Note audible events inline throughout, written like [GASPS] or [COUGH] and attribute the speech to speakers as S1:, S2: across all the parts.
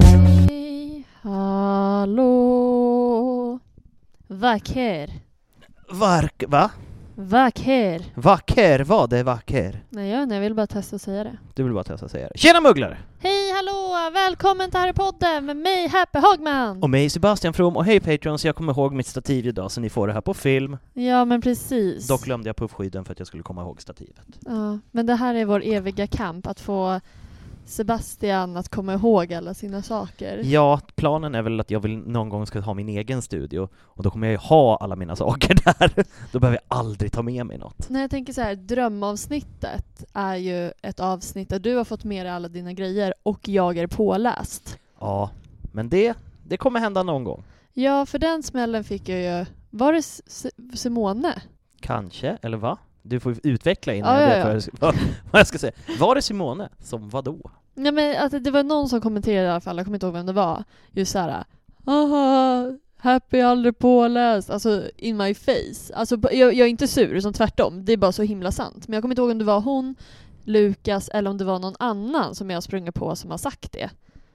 S1: Hej, hallå. Vacker.
S2: Vark... Va?
S1: Vacker.
S2: Vacker? Vad är vacker?
S1: Nej, jag, jag vill bara testa att säga det.
S2: Du vill bara testa säga det. Tjena mugglare!
S1: Hej, hallå! Välkommen till Harrypodden med mig, Happy Hagman!
S2: Och mig Sebastian From och hej Patrons, jag kommer ihåg mitt stativ idag så ni får det här på film.
S1: Ja, men precis.
S2: Dock glömde jag puffskydden för att jag skulle komma ihåg stativet.
S1: ja, men det här är vår eviga kamp, att få Sebastian att komma ihåg alla sina saker.
S2: Ja, planen är väl att jag vill någon gång ska ha min egen studio och då kommer jag ju ha alla mina saker [LAUGHS] där. Då behöver jag aldrig ta med mig något.
S1: När jag tänker så här, drömavsnittet är ju ett avsnitt där du har fått med dig alla dina grejer och jag är påläst.
S2: Ja, men det, det kommer hända någon gång.
S1: Ja, för den smällen fick jag ju... Var det S- S- Simone?
S2: Kanske, eller va? Du får utveckla innan
S1: Ja,
S2: jag
S1: ja,
S2: vet vad, jag- [LAUGHS] vad jag ska säga. Var det Simone som vadå?
S1: Nej men att det var någon som kommenterade i alla fall, jag kommer inte ihåg vem det var, just såhär Aha, happy aldrig påläst, alltså in my face. Alltså på- jag, jag är inte sur, som tvärtom, det är bara så himla sant. Men jag kommer inte ihåg om det var hon, Lukas eller om det var någon annan som jag har sprungit på som har sagt det.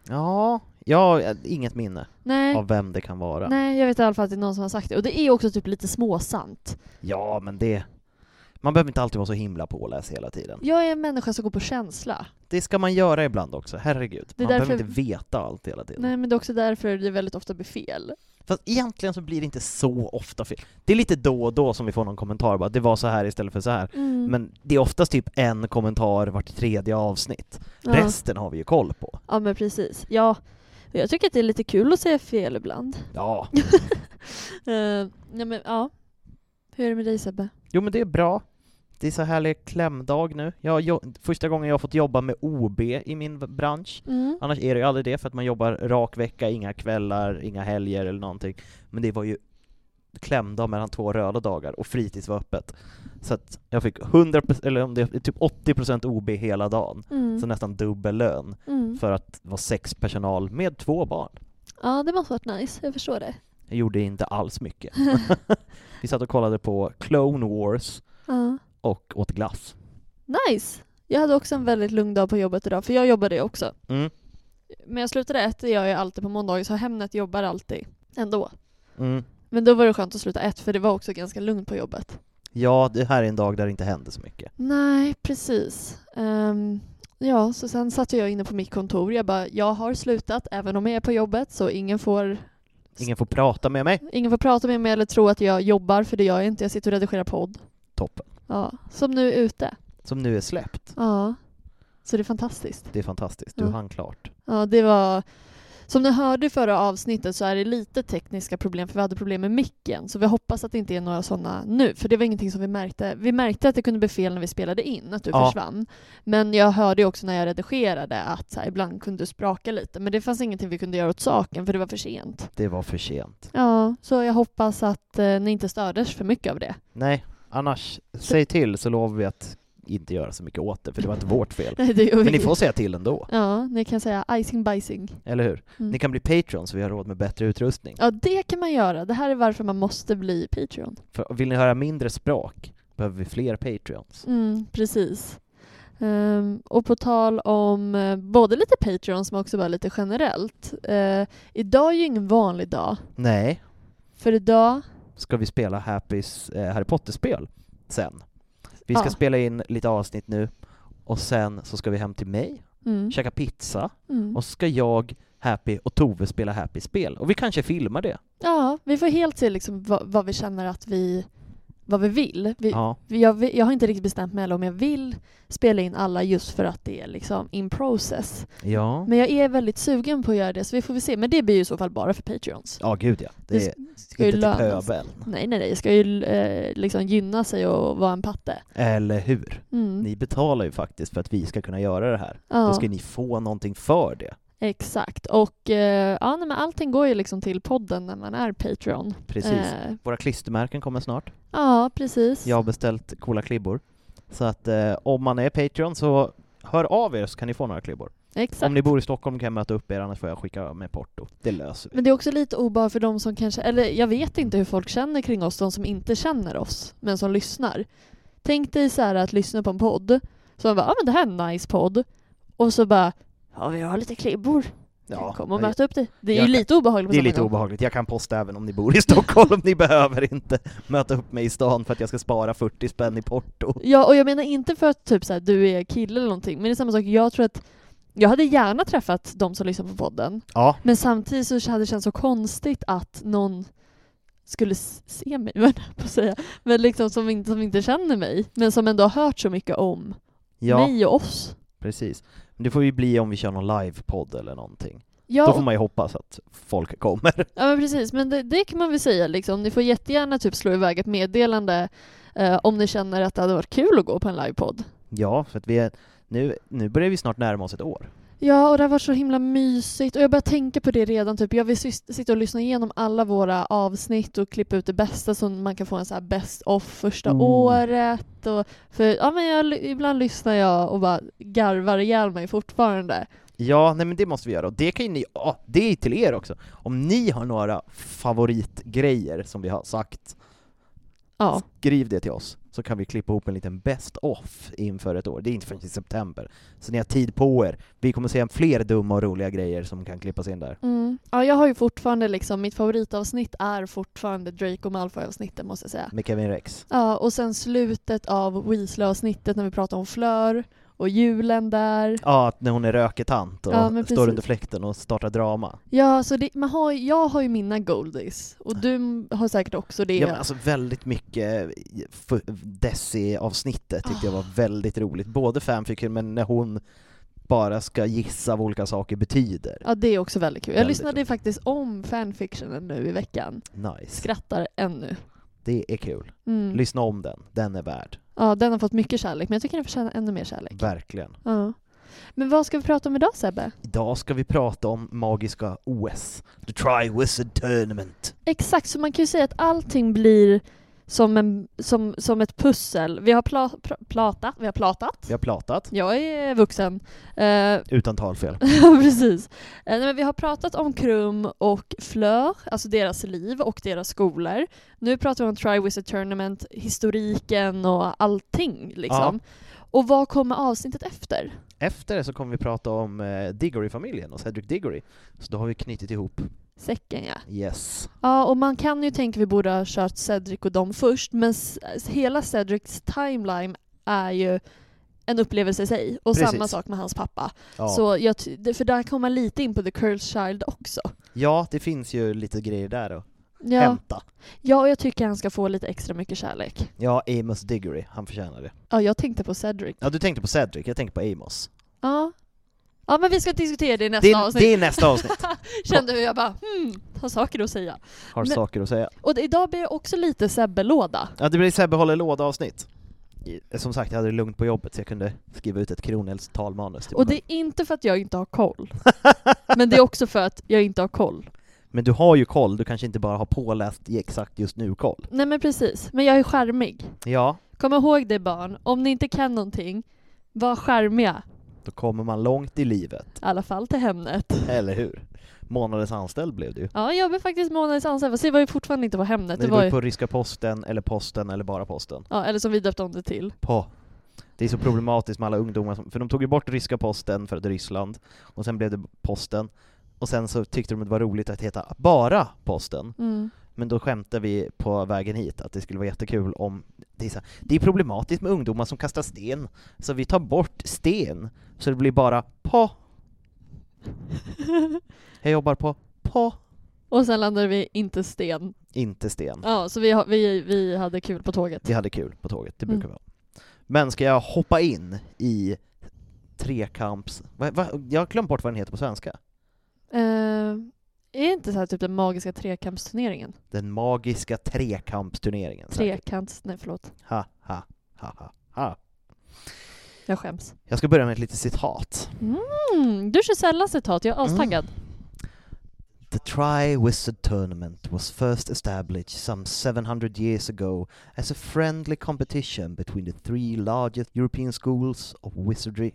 S2: Ja, jag har inget minne
S1: Nej,
S2: av vem det kan vara.
S1: nej jag vet i alla fall att det är någon som har sagt det. Och det är också typ lite småsant.
S2: Ja, men det... Man behöver inte alltid vara så himla påläst hela tiden.
S1: Jag är en människa som går på känsla.
S2: Det ska man göra ibland också, herregud.
S1: Det är
S2: man behöver
S1: därför-
S2: inte veta allt hela tiden.
S1: Nej men det är också därför det väldigt ofta blir fel.
S2: Fast egentligen så blir det inte så ofta fel. Det är lite då och då som vi får någon kommentar bara, det var så här istället för så
S1: Mm.
S2: här. Men det är oftast typ en kommentar vart tredje avsnitt.
S1: Ja.
S2: Resten har vi ju koll på.
S1: Ja men precis. Ja, jag tycker att det är lite kul att säga fel ibland. [LAUGHS]
S2: Ja.
S1: Eh, nej men ja. Hur är det med dig Sebbe?
S2: Jo men det är bra. Det är så härlig klämdag nu. Jag, har jo- första gången jag har fått jobba med OB i min v- bransch.
S1: Mm.
S2: Annars är det ju aldrig det, för att man jobbar rak vecka, inga kvällar, inga helger eller någonting. Men det var ju klämda mellan två röda dagar och fritids var öppet. Så att jag fick 100 eller om det är typ 80% OB hela dagen, så nästan dubbel lön
S1: Mm.
S2: för att vara sex personal med två barn.
S1: Ja det måste varit nice, jag förstår det.
S2: Jag gjorde inte alls mycket. Vi satt och kollade på Clone Wars
S1: Ja.
S2: och åt glass.
S1: Nice! Jag hade också en väldigt lugn dag på jobbet idag, för jag jobbade ju också.
S2: Mm.
S1: Men jag slutade ett, det gör jag alltid på måndagar, så Hemnet jobbar alltid ändå.
S2: Mm.
S1: Men då var det skönt att sluta ett, för det var också ganska lugnt på jobbet.
S2: Ja, det här är en dag där det inte händer så mycket.
S1: Nej, precis. Ehm, ja, så sen satt jag inne på mitt kontor. Jag bara, jag har slutat, även om jag är på jobbet, så ingen får
S2: Ingen får prata med mig.
S1: Ingen får prata med mig eller tro att jag jobbar, för det gör jag inte. Jag sitter och redigerar podd.
S2: Toppen.
S1: Ja, som nu är ute.
S2: Som nu är släppt.
S1: Ja. Så det är fantastiskt.
S2: Det är fantastiskt. Du
S1: Ja.
S2: hann klart.
S1: Ja, det var Som ni hörde i förra avsnittet så är det lite tekniska problem för vi hade problem med micken. Så vi hoppas att det inte är några sådana nu, för det var ingenting som vi märkte. Vi märkte att det kunde bli fel när vi spelade in, att du
S2: Ja.
S1: försvann. Men jag hörde ju också när jag redigerade att så här, ibland kunde du spraka lite. Men det fanns ingenting vi kunde göra åt saken, för det var för sent.
S2: Det var för sent.
S1: Ja, så jag hoppas att eh, ni inte stördes för mycket av det. [LAUGHS]
S2: Nej, annars, säg till så lovar vi att inte göra så mycket åt det, för det var inte
S1: [LAUGHS]
S2: vårt fel.
S1: Nej, det gör vi
S2: Men ni
S1: inte.
S2: får säga till ändå,
S1: Ja, ni kan säga icing bicing.
S2: eller hur?
S1: Mm.
S2: Ni kan bli Patreon så vi har råd med bättre utrustning.
S1: Ja, det kan man göra. Det här är varför man måste bli Patreon.
S2: För vill ni höra mindre språk behöver vi fler Patreons.
S1: Mm, precis. Ehm, och på tal om eh, både lite Patreons men också bara lite generellt. Eh, idag är ju ingen vanlig dag.
S2: Nej,
S1: För idag,
S2: ska vi spela Happys eh, Harry Potter-spel sen. Vi ska
S1: Ja.
S2: spela in lite avsnitt nu, och sen så ska vi hem till mig,
S1: mm,
S2: käka pizza,
S1: mm.
S2: och så ska jag, Happy och Tove spela Happy-spel. Och vi kanske filmar det.
S1: ja, vi får helt se liksom vad, vad vi känner att vi, vad vi vill. Vi,
S2: Ja.
S1: vi- jag, vi- jag har inte riktigt bestämt mig heller om jag vill spela in alla just för att det är liksom in process.
S2: Ja.
S1: Men jag är väldigt sugen på att göra det så vi får väl se. Men det blir ju i så fall bara för Patreons.
S2: Ja, gud ja. Det,
S1: Det
S2: är
S1: ska ju
S2: inte till
S1: lönas.
S2: pöbeln.
S1: Nej, nej, nej. Det ska ju eh, liksom gynna sig och vara en patte.
S2: Eller hur?
S1: Mm.
S2: Ni betalar ju faktiskt för att vi ska kunna göra det här. Då
S1: Ja,
S2: ska ni få någonting för det.
S1: exakt. Och eh, ja, nej, men allting går ju liksom till podden när man är Patreon.
S2: Precis.
S1: Eh,
S2: Våra klistermärken kommer snart.
S1: ja, precis.
S2: Jag har beställt coola klibbor. Så att eh, om man är Patreon så hör av er så kan ni få några klibbor.
S1: Exakt.
S2: Om ni bor i Stockholm kan jag möta upp er, annars får jag skicka med porto. Det löser vi.
S1: Men det är också lite obehag för de som kanske, eller jag vet inte hur folk känner kring oss, de som inte känner oss, men som lyssnar. Tänk dig så här att lyssna på en podd, som bara, ja ah, men det här är en nice podd, och så bara, ja vi har lite klibbor, kom och
S2: jag-
S1: möt upp dig. Det är
S2: jag
S1: ju
S2: kan-
S1: lite obehagligt på
S2: det är
S1: samma
S2: lite
S1: gång.
S2: obehagligt. Jag kan posta även om ni bor i [LAUGHS] Stockholm. ni behöver inte möta upp mig i stan för att jag ska spara 40 spänn i porto.
S1: Ja, och jag menar inte för att typ så här, du är kille eller någonting, men det är samma sak, jag tror att jag hade gärna träffat de som lyssnar på podden,
S2: Ja,
S1: men samtidigt så hade det känts så konstigt att någon skulle s- se mig, [LAUGHS] vad jag höll på att säga, men liksom som inte, som inte känner mig, men som ändå har hört så mycket om
S2: ja.
S1: mig och oss.
S2: Precis. Men det får ju bli om vi kör någon livepodd eller någonting. Då
S1: Ja,
S2: får man ju hoppas att folk kommer.
S1: ja men precis, men det, det kan man väl säga liksom, ni får jättegärna typ slå iväg ett meddelande eh, om ni känner att det hade varit kul att gå på en livepodd.
S2: [LAUGHS] Ja, för att vi är, nu, nu börjar vi snart närma oss ett år.
S1: Ja, och det har varit så himla mysigt. Och jag börjar tänka på det redan. Typ. Jag vill sys- sitta och lyssna igenom alla våra avsnitt och klippa ut det bästa så man kan få en så här best of första
S2: Mm.
S1: året. Och, för ja, men jag, ibland lyssnar jag och bara garvar ihjäl mig fortfarande.
S2: Ja, nej men det måste vi göra. Och det kan ju ni, ja, det är till er också. Om ni har några favoritgrejer som vi har sagt,
S1: Ja,
S2: skriv det till oss. Så kan vi klippa ihop en liten best off inför ett år. Det är inte förrän i september. Så ni har tid på er. Vi kommer se fler dumma och roliga grejer som kan klippas in där.
S1: mm. ja jag har ju fortfarande liksom, mitt favoritavsnitt är fortfarande Drake och Malfoy-avsnitten måste jag säga.
S2: Med Kevin Rex.
S1: Ja, och sen slutet av Weasley-avsnittet när vi pratar om Flör och julen där.
S2: Ja, att när hon är röketant och
S1: Ja, men
S2: står
S1: precis.
S2: under fläkten och startar drama.
S1: Ja, så det, man har, jag har ju mina goldies och du har säkert också det.
S2: Ja, men alltså väldigt mycket f- Desi-avsnittet tyckte jag var
S1: Ah.
S2: väldigt roligt. Både fanfiction, men när hon bara ska gissa vad olika saker betyder.
S1: Ja, det är också väldigt kul. Jag
S2: Väldigt
S1: lyssnade
S2: roligt.
S1: faktiskt om fanfictionen nu i veckan.
S2: Nice.
S1: Skrattar ännu.
S2: Det är kul.
S1: Mm.
S2: Lyssna om den. Den är värd.
S1: Ja, den har fått mycket kärlek, men jag tycker den förtjänar ännu mer kärlek.
S2: Verkligen.
S1: Ja. Men vad ska vi prata om idag Sebbe?
S2: Idag ska vi prata om magiska OS. The Tri-Wizard Tournament.
S1: Exakt, så man kan ju säga att allting blir som, en, som, som ett pussel. Vi har pla, pr- plata, vi har platat.
S2: Vi har pratat.
S1: Jag är vuxen. Eh, [LAUGHS]
S2: Utan talfel.
S1: Ja, precis. Eh, Nej, men vi har pratat om Krum och Fleur, alltså deras liv och deras skolor. Nu pratar vi om Triwizard Tournament, historiken och allting liksom. Och vad kommer avsnittet efter?
S2: Efter det så kommer vi prata om eh, Diggory-familjen och Cedric Diggory. Så då har vi knutit ihop.
S1: Säcken ja.
S2: Yes.
S1: Ja, och man kan ju tänka att vi borde ha kört Cedric och dem först, men s- hela Cedrics timeline är ju en upplevelse i sig. Och
S2: Precis.
S1: samma sak med hans pappa.
S2: Ja.
S1: Så jag ty- det- för där kommer man lite in på The Curled Child också.
S2: ja, det finns ju lite grejer där att
S1: Ja.
S2: hämta.
S1: ja, och jag tycker han ska få lite extra mycket kärlek.
S2: Ja, Amos Diggory, han förtjänar det.
S1: Ja, jag tänkte på Cedric.
S2: Ja, du tänkte på Cedric, jag tänkte på Amos.
S1: Ja, Ja men vi ska diskutera det i nästa
S2: Det är,
S1: avsnitt.
S2: det är nästa
S1: [LAUGHS]
S2: avsnitt.
S1: Kände hur jag bara hmm, har saker att säga.
S2: Har
S1: Men-
S2: saker att säga.
S1: Och det, idag blir det också lite Sebbe-låda.
S2: Ja, det blir Sebbe håller låda-avsnitt. Som sagt, jag hade det lugnt på jobbet så jag kunde skriva ut ett Kronells talmanus. till
S1: Och
S2: mig
S1: det är inte för att jag inte har
S2: [LAUGHS]
S1: koll. men det är också för att jag inte har koll.
S2: själv. Men du har ju koll, du kanske inte bara har påläst i exakt just nu-koll.
S1: Nej men precis, men jag är skärmig.
S2: Ja,
S1: Kom ihåg det barn, om ni inte kan någonting, var skärmiga.
S2: då kommer man långt i livet,
S1: I alla fall till Hemnet.
S2: eller hur? Månadens anställd blev du ju.
S1: Ja, jag blev faktiskt månadens anställd, fast det var ju fortfarande inte på Hemnet.
S2: Men
S1: Det
S2: det var
S1: var
S2: ju
S1: ju,
S2: på ryska posten, eller posten, eller bara posten.
S1: ja, eller som vi döpte om det till.
S2: På. Det är så problematiskt med alla ungdomar, som, för de tog ju bort ryska posten för att det är Ryssland, och sen blev det posten, och sen så tyckte de att det var roligt att heta bara posten.
S1: Mm.
S2: Men då skämtade vi på vägen hit att det skulle vara jättekul om det är, så här, det är problematiskt med ungdomar som kastar sten, så vi tar bort sten, så det blir bara på. Jag jobbar på på,
S1: Och sen landade vi inte sten.
S2: inte sten.
S1: Ja, så vi, ha- vi, vi hade kul på tåget.
S2: Vi hade kul på tåget, det
S1: Mm.
S2: brukar vi ha. Men ska jag hoppa in i trekamps... Va, va, jag har glömt bort vad den heter på svenska.
S1: Eh, är det inte så här typ den magiska trekampsturneringen?
S2: Den magiska trekampsturneringen. säkert.
S1: Trekants... Nej, förlåt.
S2: Ha, ha, ha, ha, ha.
S1: Jag skäms.
S2: Jag ska börja med ett litet citat.
S1: Mm, du kör sällan citat, jag är astaggad.
S2: Mm. The Tri-Wizard Tournament was first established some 700 years ago as a friendly competition between the three largest European schools of wizardry,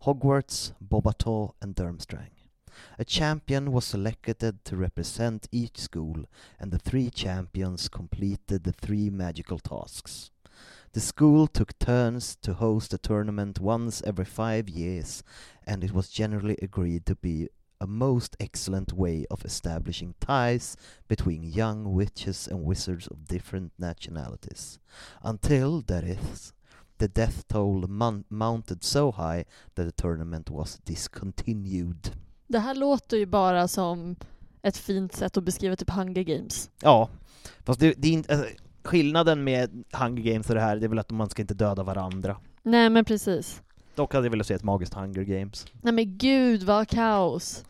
S2: Hogwarts, Bobator and Durmstrang. A champion was selected to represent each school and the three champions completed the three magical tasks. The school took turns to host the tournament once every five years and it was generally agreed to be a most excellent way of establishing ties between young witches and wizards of different nationalities, until, that is, the death toll mon- mounted so high that the tournament was discontinued.
S1: Det här låter ju bara som ett fint sätt att beskriva typ Hunger Games.
S2: Ja, fast det, det är inte, alltså, skillnaden med Hunger Games och det här det är väl att man ska inte döda varandra.
S1: Nej men precis.
S2: Dock hade jag velat se ett magiskt Hunger Games.
S1: Nej men gud vad kaos.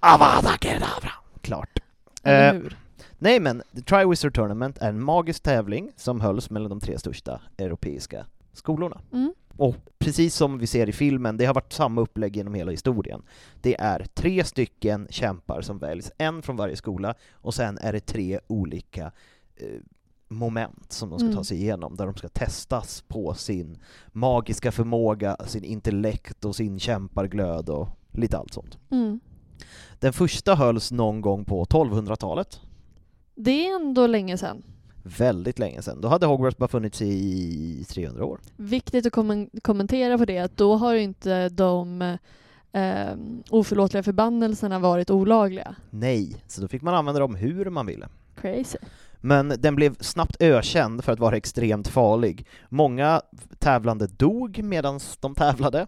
S2: Avada Kedavra! Klart. Eh,
S1: Eller hur?
S2: Nej men, The Triwizard Tournament är en magisk tävling som hölls mellan de tre största europeiska skolorna.
S1: Mm.
S2: Och precis som vi ser i filmen, det har varit samma upplägg genom hela historien. Det är tre stycken kämpar som väljs, en från varje skola, och sen är det tre olika eh, moment som de ska
S1: Mm.
S2: ta sig igenom, där de ska testas på sin magiska förmåga, sin intellekt och sin kämparglöd och lite allt sånt.
S1: Mm.
S2: Den första hölls någon gång på 1200-talet.
S1: Det är ändå länge sedan.
S2: väldigt länge sedan. Då hade Hogwarts bara funnits i 300 år.
S1: Viktigt att kommen- kommentera på det att då har ju inte de eh, oförlåtliga förbannelserna varit olagliga.
S2: Nej, så då fick man använda dem hur man ville.
S1: Crazy.
S2: Men den blev snabbt ökänd för att vara extremt farlig. Många tävlande dog medan de tävlade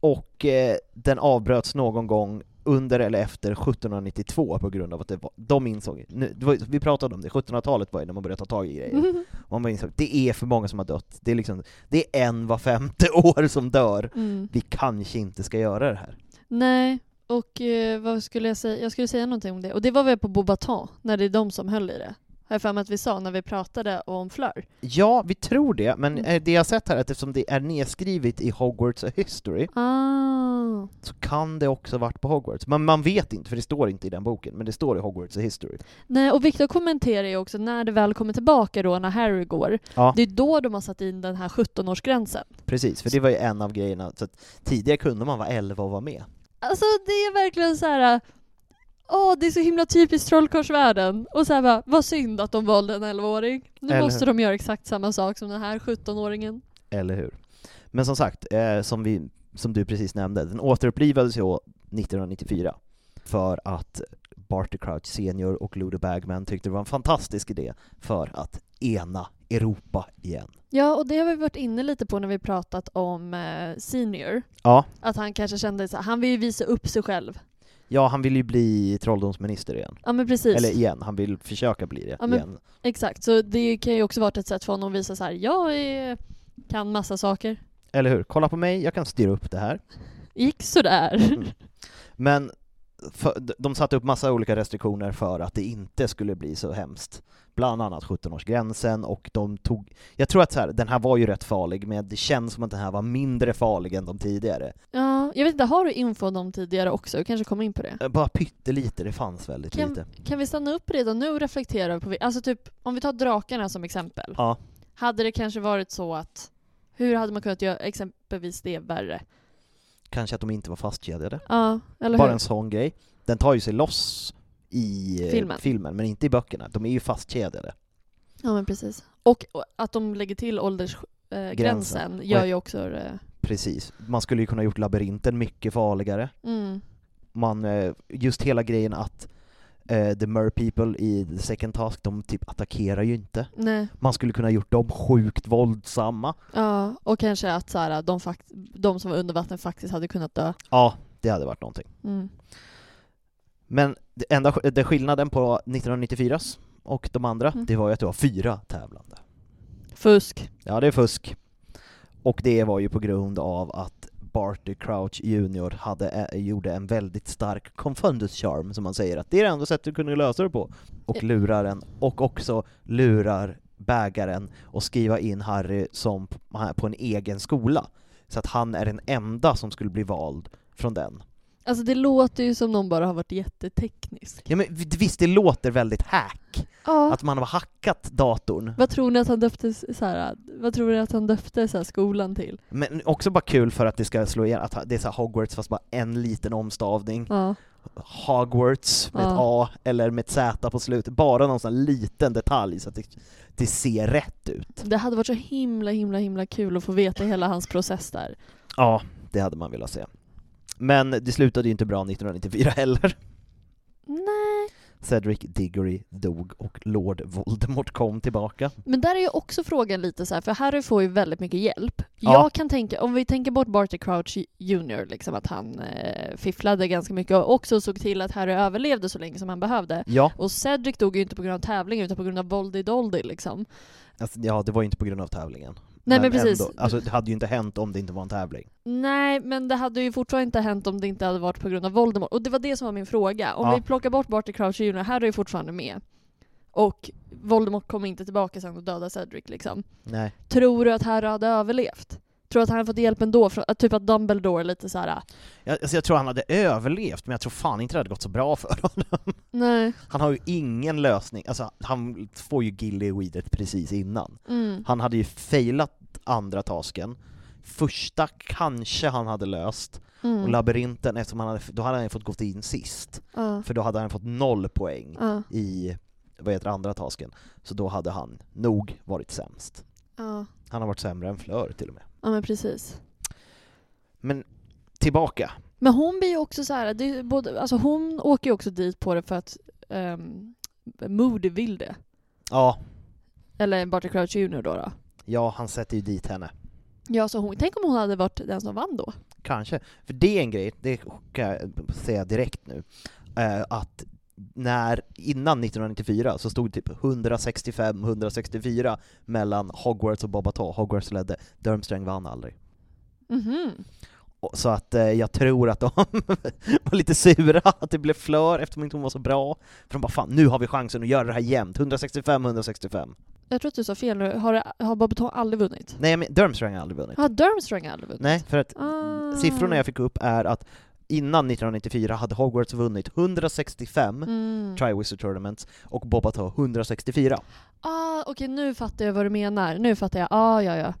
S2: och eh, den avbröts någon gång under eller efter 1792 på grund av att det var, de insåg, nu, det var, vi pratade om det, 1700-talet var ju när man började ta tag i grejer. Man bara insåg det är för många som har dött, det är, liksom, det är en var femte [LAUGHS] år som dör.
S1: [LAUGHS] Mm.
S2: Vi kanske inte ska göra det här.
S1: Nej, och eh, vad skulle jag säga? Jag skulle säga någonting om det. Och det var väl på Bobaton, när det är de som höll i det. Har jag för mig att vi sa när vi pratade om Fleur.
S2: Ja, vi tror det, men
S1: Mm.
S2: eh, det jag har sett här är att eftersom det är nedskrivet i Hogwarts history
S1: Ah.
S2: så kan det också ha varit på Hogwarts. Men man vet inte, för det står inte i den boken, men det står i Hogwarts history.
S1: Nej, och Viktor kommenterar ju också när det väl kommer tillbaka då när Harry går.
S2: Ja.
S1: Det är då de har satt in den här 17-årsgränsen.
S2: Precis, för det var ju en av grejerna. Så att tidigare kunde man vara 11 och vara med.
S1: Alltså det är verkligen så här. Åh, det är så himla typiskt trollkarlsvärlden. Och så här bara, vad synd att de valde en 11-åring. Nu
S2: Eller
S1: måste de göra exakt samma sak som den här 17-åringen.
S2: Eller hur? Men som sagt, eh, som, vi, som du precis nämnde, den återupplivades ju år 1994 för att Barty Crouch senior och Ludo Bagman tyckte det var en fantastisk idé för att ena Europa igen.
S1: Ja, och det har vi varit inne lite på när vi pratat om eh, Senior.
S2: Ja,
S1: Att han kanske kände så här, han vill ju visa upp sig själv.
S2: ja han vill ju bli trolldomsminister igen.
S1: Ja men precis.
S2: Eller igen, han vill försöka bli det
S1: Ja, men-
S2: igen.
S1: Exakt, så det kan ju också varit ett sätt för honom att visa så här, jag är, kan massa saker. [LAUGHS]
S2: Eller hur? Kolla på mig, jag kan styra upp det här.
S1: gick
S2: Mm.
S1: sådär.
S2: Men för, d- de satte upp massa olika restriktioner för att det inte skulle bli så hemskt. Bland annat 17-årsgränsen och de tog... Jag tror att så här, den här var ju rätt farlig, men det känns som att den här var mindre farlig än de tidigare.
S1: Ja, jag vet inte, har du info om dem tidigare också? Vi kanske kommer in på det.
S2: Eh, Bara pyttelite, det fanns väldigt
S1: Kan-
S2: lite.
S1: Kan vi stanna upp redan nu och reflektera över på vi- Alltså typ, om vi tar drakarna som exempel.
S2: Ja.
S1: Hade det kanske varit så att hur hade man kunnat göra exempelvis det värre?
S2: Kanske att de inte var fastkedjade.
S1: Ja, eller
S2: Bara
S1: hur?
S2: en sån grej. Den tar ju sig loss i eh,
S1: Filmen.
S2: filmen, men inte i böckerna. De är ju fastkedjade.
S1: Ja, men precis. Och, och att de lägger till åldersgränsen eh, gränsen gör
S2: Och-
S1: ju också det.
S2: Precis. Man skulle ju kunna ha gjort labyrinten mycket farligare.
S1: Mm.
S2: man, eh, just hela grejen att eh, the mer people i the second task, de typ attackerar ju inte.
S1: Nej.
S2: Man skulle kunna ha gjort dem sjukt våldsamma.
S1: Ja, och kanske att så här, de, fakt- de som var under vatten faktiskt hade kunnat dö.
S2: Ja, det hade varit någonting.
S1: Mm.
S2: Men det enda, den skillnaden på 1994s och de andra,
S1: Mm.
S2: det var ju att det var fyra tävlande.
S1: Fusk.
S2: Ja, det är fusk. Och det var ju på grund av att Barty Crouch Jr hade, eh, gjorde en väldigt stark confundus charm, som man säger att det är det enda sättet du kunde lösa det på. Och
S1: Eh.
S2: lurar den, och också lurar bägaren och skriva in Harry som p- på en egen skola. Så att han är den enda som skulle bli vald från den.
S1: Alltså det låter ju som någon bara har varit jätteteknisk.
S2: Ja men vi- visst, det låter väldigt hack,
S1: Ja.
S2: att man har hackat datorn.
S1: Vad tror ni att han döpte, s- så här, vad tror ni att han döpte så här, skolan till?
S2: Men också bara kul för att det ska slå igen, att det är så här Hogwarts fast bara en liten omstavning.
S1: Ja.
S2: Hogwarts med ett
S1: Ja.
S2: A eller med ett Z på slutet, bara någon sån här liten detalj så att det, det ser rätt ut.
S1: Det hade varit så himla, himla, himla kul att få veta hela hans process där.
S2: Ja, det hade man velat se. Men det slutade ju inte bra 1994 heller.
S1: Nej.
S2: Cedric Diggory dog och Lord Voldemort kom tillbaka.
S1: Men där är ju också frågan lite så här, för Harry får ju väldigt mycket hjälp.
S2: Ja.
S1: Jag kan tänka, om vi tänker bort Barty Crouch Jr, liksom att han eh, fifflade ganska mycket och också såg till att Harry överlevde så länge som han behövde.
S2: Ja,
S1: Och Cedric dog ju inte på grund av tävlingen utan på grund av Voldy Doldy liksom.
S2: alltså, ja det var ju inte på grund av tävlingen.
S1: Nej, men precis.
S2: alltså, det hade ju inte hänt om det inte var en tävling.
S1: Nej, men det hade ju fortfarande inte hänt om det inte hade varit på grund av Voldemort. Och det var det som var min fråga. Om
S2: Ja.
S1: vi plockar bort Barty Crouch Jr, Harry är fortfarande med. Och Voldemort kom inte tillbaka sen och dödade Cedric liksom.
S2: Nej.
S1: Tror du att Harry hade överlevt? Tror du att han hade fått hjälp ändå? Från, att typ att Dumbledore är lite äh. såhär,
S2: Jag, alltså, jag tror han hade överlevt, men jag tror fan inte det hade gått så bra för honom.
S1: nej.
S2: Han har ju ingen lösning, alltså han får ju Gilly Weedet precis innan.
S1: Mm.
S2: Han hade ju failat andra tasken, första kanske han hade löst, och
S1: Mm.
S2: labyrinten eftersom han hade, då hade han ju fått gått in sist,
S1: Ja.
S2: för då hade han fått noll poäng
S1: Ja.
S2: i vad heter det, andra tasken, så då hade han nog varit sämst.
S1: Ja.
S2: Han har varit sämre än Flör till och med.
S1: ja, men precis.
S2: Men tillbaka.
S1: Men hon blir ju också så här, det är ju både, alltså hon åker ju också dit på det för att um, Moody vill det.
S2: Ja,
S1: Eller Barty Crouch Jr då. då.
S2: ja han sätter ju dit henne.
S1: Ja, så hon, tänk om hon hade varit den som vann då?
S2: Kanske. För det är en grej, det kan jag säga direkt nu, eh, att när, innan 1994 så stod det typ 165-164 mellan Hogwarts och Bobaton. Hogwarts ledde, Durmstrang vann aldrig.
S1: Mhm.
S2: Och- Så att eh, jag tror att de [LAUGHS] var lite sura att det blev Flör eftersom inte hon var så bra. För de bara fan, nu har vi chansen att göra det här jämnt. 165-165.
S1: Jag tror att du sa fel nu. Har, det- har Bobaton aldrig vunnit?
S2: Nej men Durmstrang har aldrig vunnit.
S1: Har Durmstrang aldrig vunnit?
S2: Nej, för att
S1: Ah.
S2: siffrorna jag fick upp är att innan 1994 hade Hogwarts vunnit 165
S1: Mm.
S2: Triwizard Tournaments och Bobato 164.
S1: Ah, okej nu fattar jag vad du menar. Nu fattar jag. Ah, ja, ja.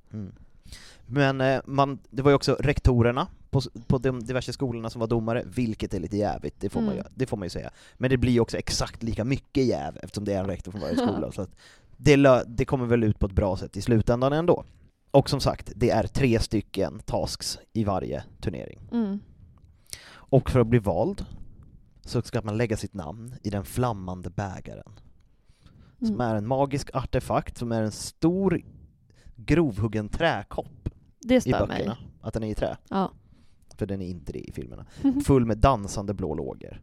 S2: Men eh, man, det var ju också rektorerna på, s- på de diverse skolorna som var domare, vilket är lite jävigt, det får, man, ju,
S1: Mm.
S2: det får man ju säga. Men det blir ju också exakt lika mycket jäv eftersom det är en rektor från varje skola. så att det, lö, det kommer väl ut på ett bra sätt i slutändan ändå. Och som sagt, det är tre stycken tasks i varje turnering.
S1: Mm.
S2: Och för att bli vald så ska man lägga sitt namn i den flammande bägaren. Som
S1: Mm.
S2: är en magisk artefakt som är en stor grovhuggen träkopp
S1: Det
S2: i
S1: stör mig.
S2: böckerna. Att den är i trä.
S1: Ja. Mm-hmm.
S2: För den är inte det i filmerna. Full med dansande blå lågor.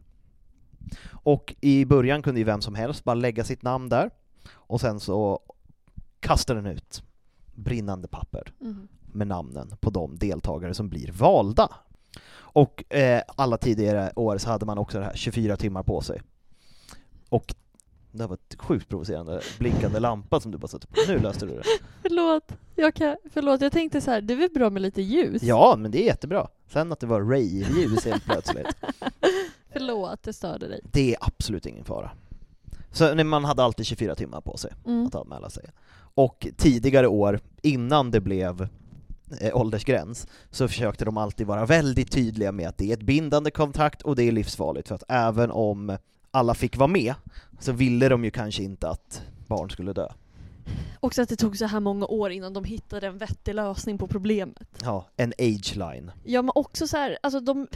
S2: Och i början kunde ju vem som helst bara lägga sitt namn där och sen så kastar den ut brinnande papper
S1: Mm.
S2: med namnen på de deltagare som blir valda. Och eh, alla tidigare år så hade man också det här 24 timmar på sig. Och det här var ett sjukt provocerande blinkande lampa som du bara satte på. Nu löste du det.
S1: Förlåt. Jag kan, förlåt, jag tänkte så här, det är väl bra med lite ljus?
S2: Ja, men det är jättebra. Sen att det var rave-ljus helt plötsligt,
S1: Förlåt, det störde dig.
S2: det är absolut ingen fara. Så nej, man hade alltid 24 timmar på sig
S1: Mm.
S2: att anmäla sig. Och tidigare år, innan det blev eh, åldersgräns, så försökte de alltid vara väldigt tydliga med att det är ett bindande kontrakt och det är livsfarligt, för att även om alla fick vara med så ville de ju kanske inte att barn skulle dö.
S1: Också att det tog så här många år innan de hittade en vettig lösning på problemet.
S2: Ja, en age line.
S1: Ja men också så här, alltså de...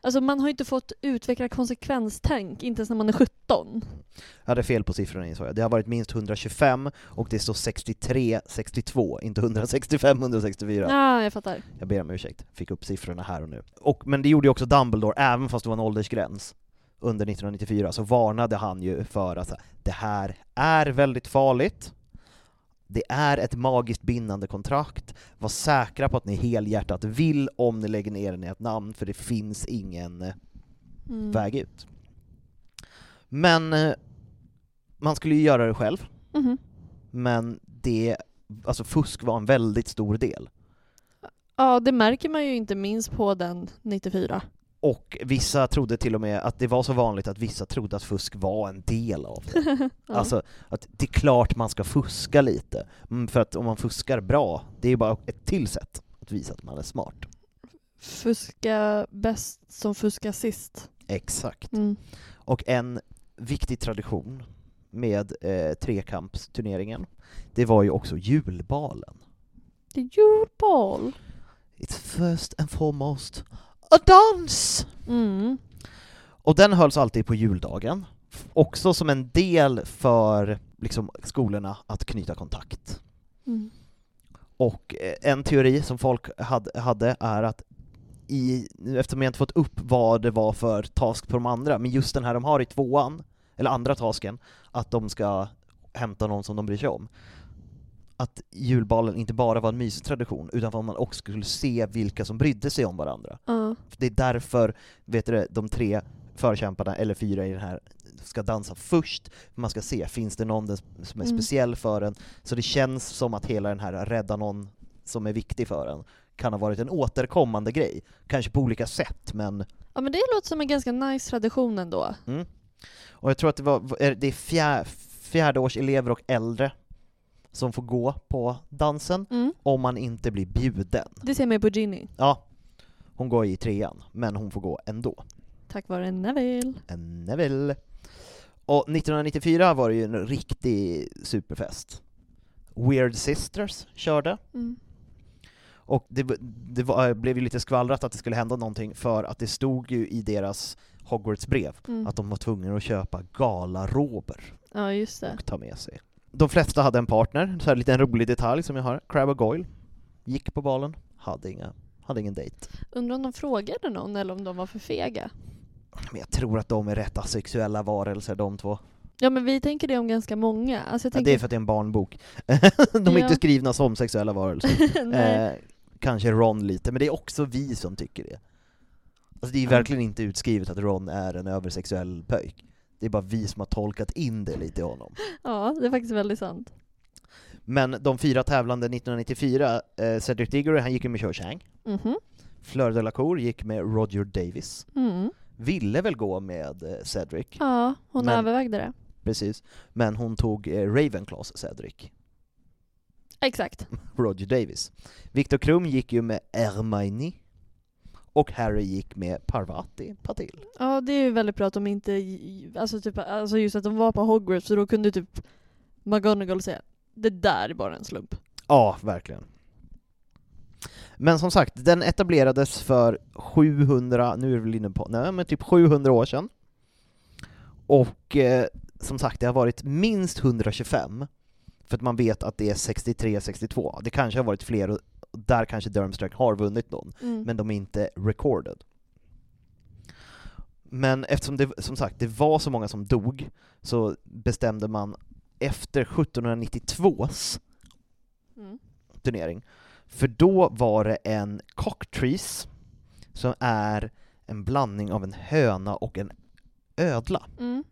S1: Alltså man har ju inte fått utveckla konsekvenstänk, inte ens när man är 17.
S2: Jag hade fel på siffrorna insåg jag. Det har varit minst 125 och det står 63, 62, inte 165, 164.
S1: Ja, ah, jag fattar.
S2: Jag ber om ursäkt, fick upp siffrorna här och nu. Och, men det gjorde ju också Dumbledore, även fast det var en åldersgräns under 1994, så varnade han ju för att så här, det här är väldigt farligt, det är ett magiskt bindande kontrakt, var säkra på att ni helhjärtat vill om ni lägger ner den i ett namn, för det finns ingen eh,
S1: Mm.
S2: väg ut. Men eh, man skulle ju göra det själv,
S1: Mhm.
S2: men det, alltså fusk var en väldigt stor del.
S1: Ja, det märker man ju inte minst på den 94.
S2: Och vissa trodde till och med att det var så vanligt att vissa trodde att fusk var en del av det.
S1: Ja.
S2: Alltså att det är klart man ska fuska lite, Mm, för att om man fuskar bra, det är ju bara ett till sätt att visa att man är smart.
S1: Fuska bäst som fuska sist.
S2: Exakt.
S1: Mm.
S2: Och en viktig tradition med eh, trekampsturneringen, det var ju också julbalen.
S1: Det är julbal.
S2: It's first and foremost a dance!
S1: Mm.
S2: Och den hölls alltid på juldagen, f- också som en del för liksom, skolorna att knyta kontakt.
S1: Mm.
S2: Och eh, en teori som folk hade, hade är att i, nu eftersom jag inte fått upp vad det var för task på de andra, men just den här de har i tvåan, eller andra tasken, att de ska hämta någon som de bryr sig om. Att julbalen inte bara var en mysig tradition, utan för att man också skulle se vilka som brydde sig om varandra.
S1: Ja.
S2: Det är därför vet du, det, de tre förkämparna, eller fyra i den här, ska dansa först. Man ska se, finns det någon des- som är
S1: Mm.
S2: speciell för en? Så det känns som att hela den här rädda någon som är viktig för en kan ha varit en återkommande grej. Kanske på olika sätt, men...
S1: ja, men det låter som en ganska nice tradition ändå.
S2: Mm. Och jag tror att det, var, är- det är fjär, fjärdeårselever och äldre som får gå på dansen
S1: Mm.
S2: om man inte blir bjuden.
S1: Det ser man ju på Ginny,
S2: Ja, hon går i trean, men hon får gå ändå.
S1: tack vare Neville.
S2: Neville. Och 1994 var det ju en riktig superfest. Weird Sisters körde,
S1: Mm.
S2: och det, b- det var, eh, blev ju lite skvallrat att det skulle hända någonting för att det stod ju i deras Hogwarts-brev
S1: Mm.
S2: att de var tvungna att köpa galarober
S1: Ja, just det.
S2: och ta med sig. De flesta hade en partner, så här lite en rolig detalj som jag har. Crab och Goyle gick på balen, hade, inga, hade ingen dejt.
S1: Undrar om de frågade någon eller om de var för fega.
S2: Men jag tror att de är rätt asexuella varelser de två.
S1: Ja, men vi tänker det om ganska många. Alltså, jag
S2: Ja,
S1: tänker...
S2: det är för att det är en barnbok. [LAUGHS] De
S1: Ja.
S2: är inte skrivna som sexuella
S1: [LAUGHS]
S2: varelser.
S1: Nej.
S2: eh, kanske Ron lite, men det är också vi som tycker det. Alltså det är ju
S1: Ja.
S2: verkligen inte utskrivet att Ron är en översexuell pöjk. Det är bara vi som har tolkat in det lite i honom.
S1: Ja, det är faktiskt väldigt sant.
S2: Men de fyra tävlande 1994, eh, Cedric Diggory han gick ju med Cho Chang,
S1: Mhm.
S2: Fleur Delacour gick med Roger Davis,
S1: Mm.
S2: ville väl gå med eh, Cedric,
S1: Ja, hon
S2: Men-
S1: övervägde det.
S2: precis, men hon tog eh, Ravenclaws Cedric,
S1: Exakt.
S2: Roger Davis. Victor Krum gick ju med Hermione och Harry gick med Parvati Patil.
S1: Ja, det är ju väldigt bra att de inte... Alltså, typ, alltså just att de var på Hogwarts, för då kunde typ McGonagall säga det där är bara en slump.
S2: Ja, verkligen. Men som sagt, den etablerades för 700, nu är vi väl inne på, nej men typ 700 år sedan. Och eh, som sagt, det har varit minst 125, för att man vet att det är 63-62. Det kanske har varit fler, och där kanske Durmstrang har vunnit någon.
S1: Mm.
S2: men de är inte recorded. Men eftersom det, som sagt, det var så många som dog så bestämde man efter 1792s
S1: Mm.
S2: turnering, för då var det en Cocktress som är en blandning av en höna och en ödla
S1: Mm.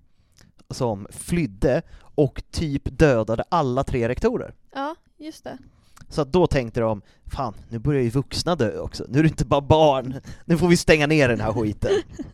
S2: som flydde och typ dödade alla tre rektorer.
S1: Ja, just det.
S2: Så att då tänkte de, fan, nu börjar ju vuxna dö också, nu är det inte bara barn, nu får vi stänga ner den här skiten. [LAUGHS]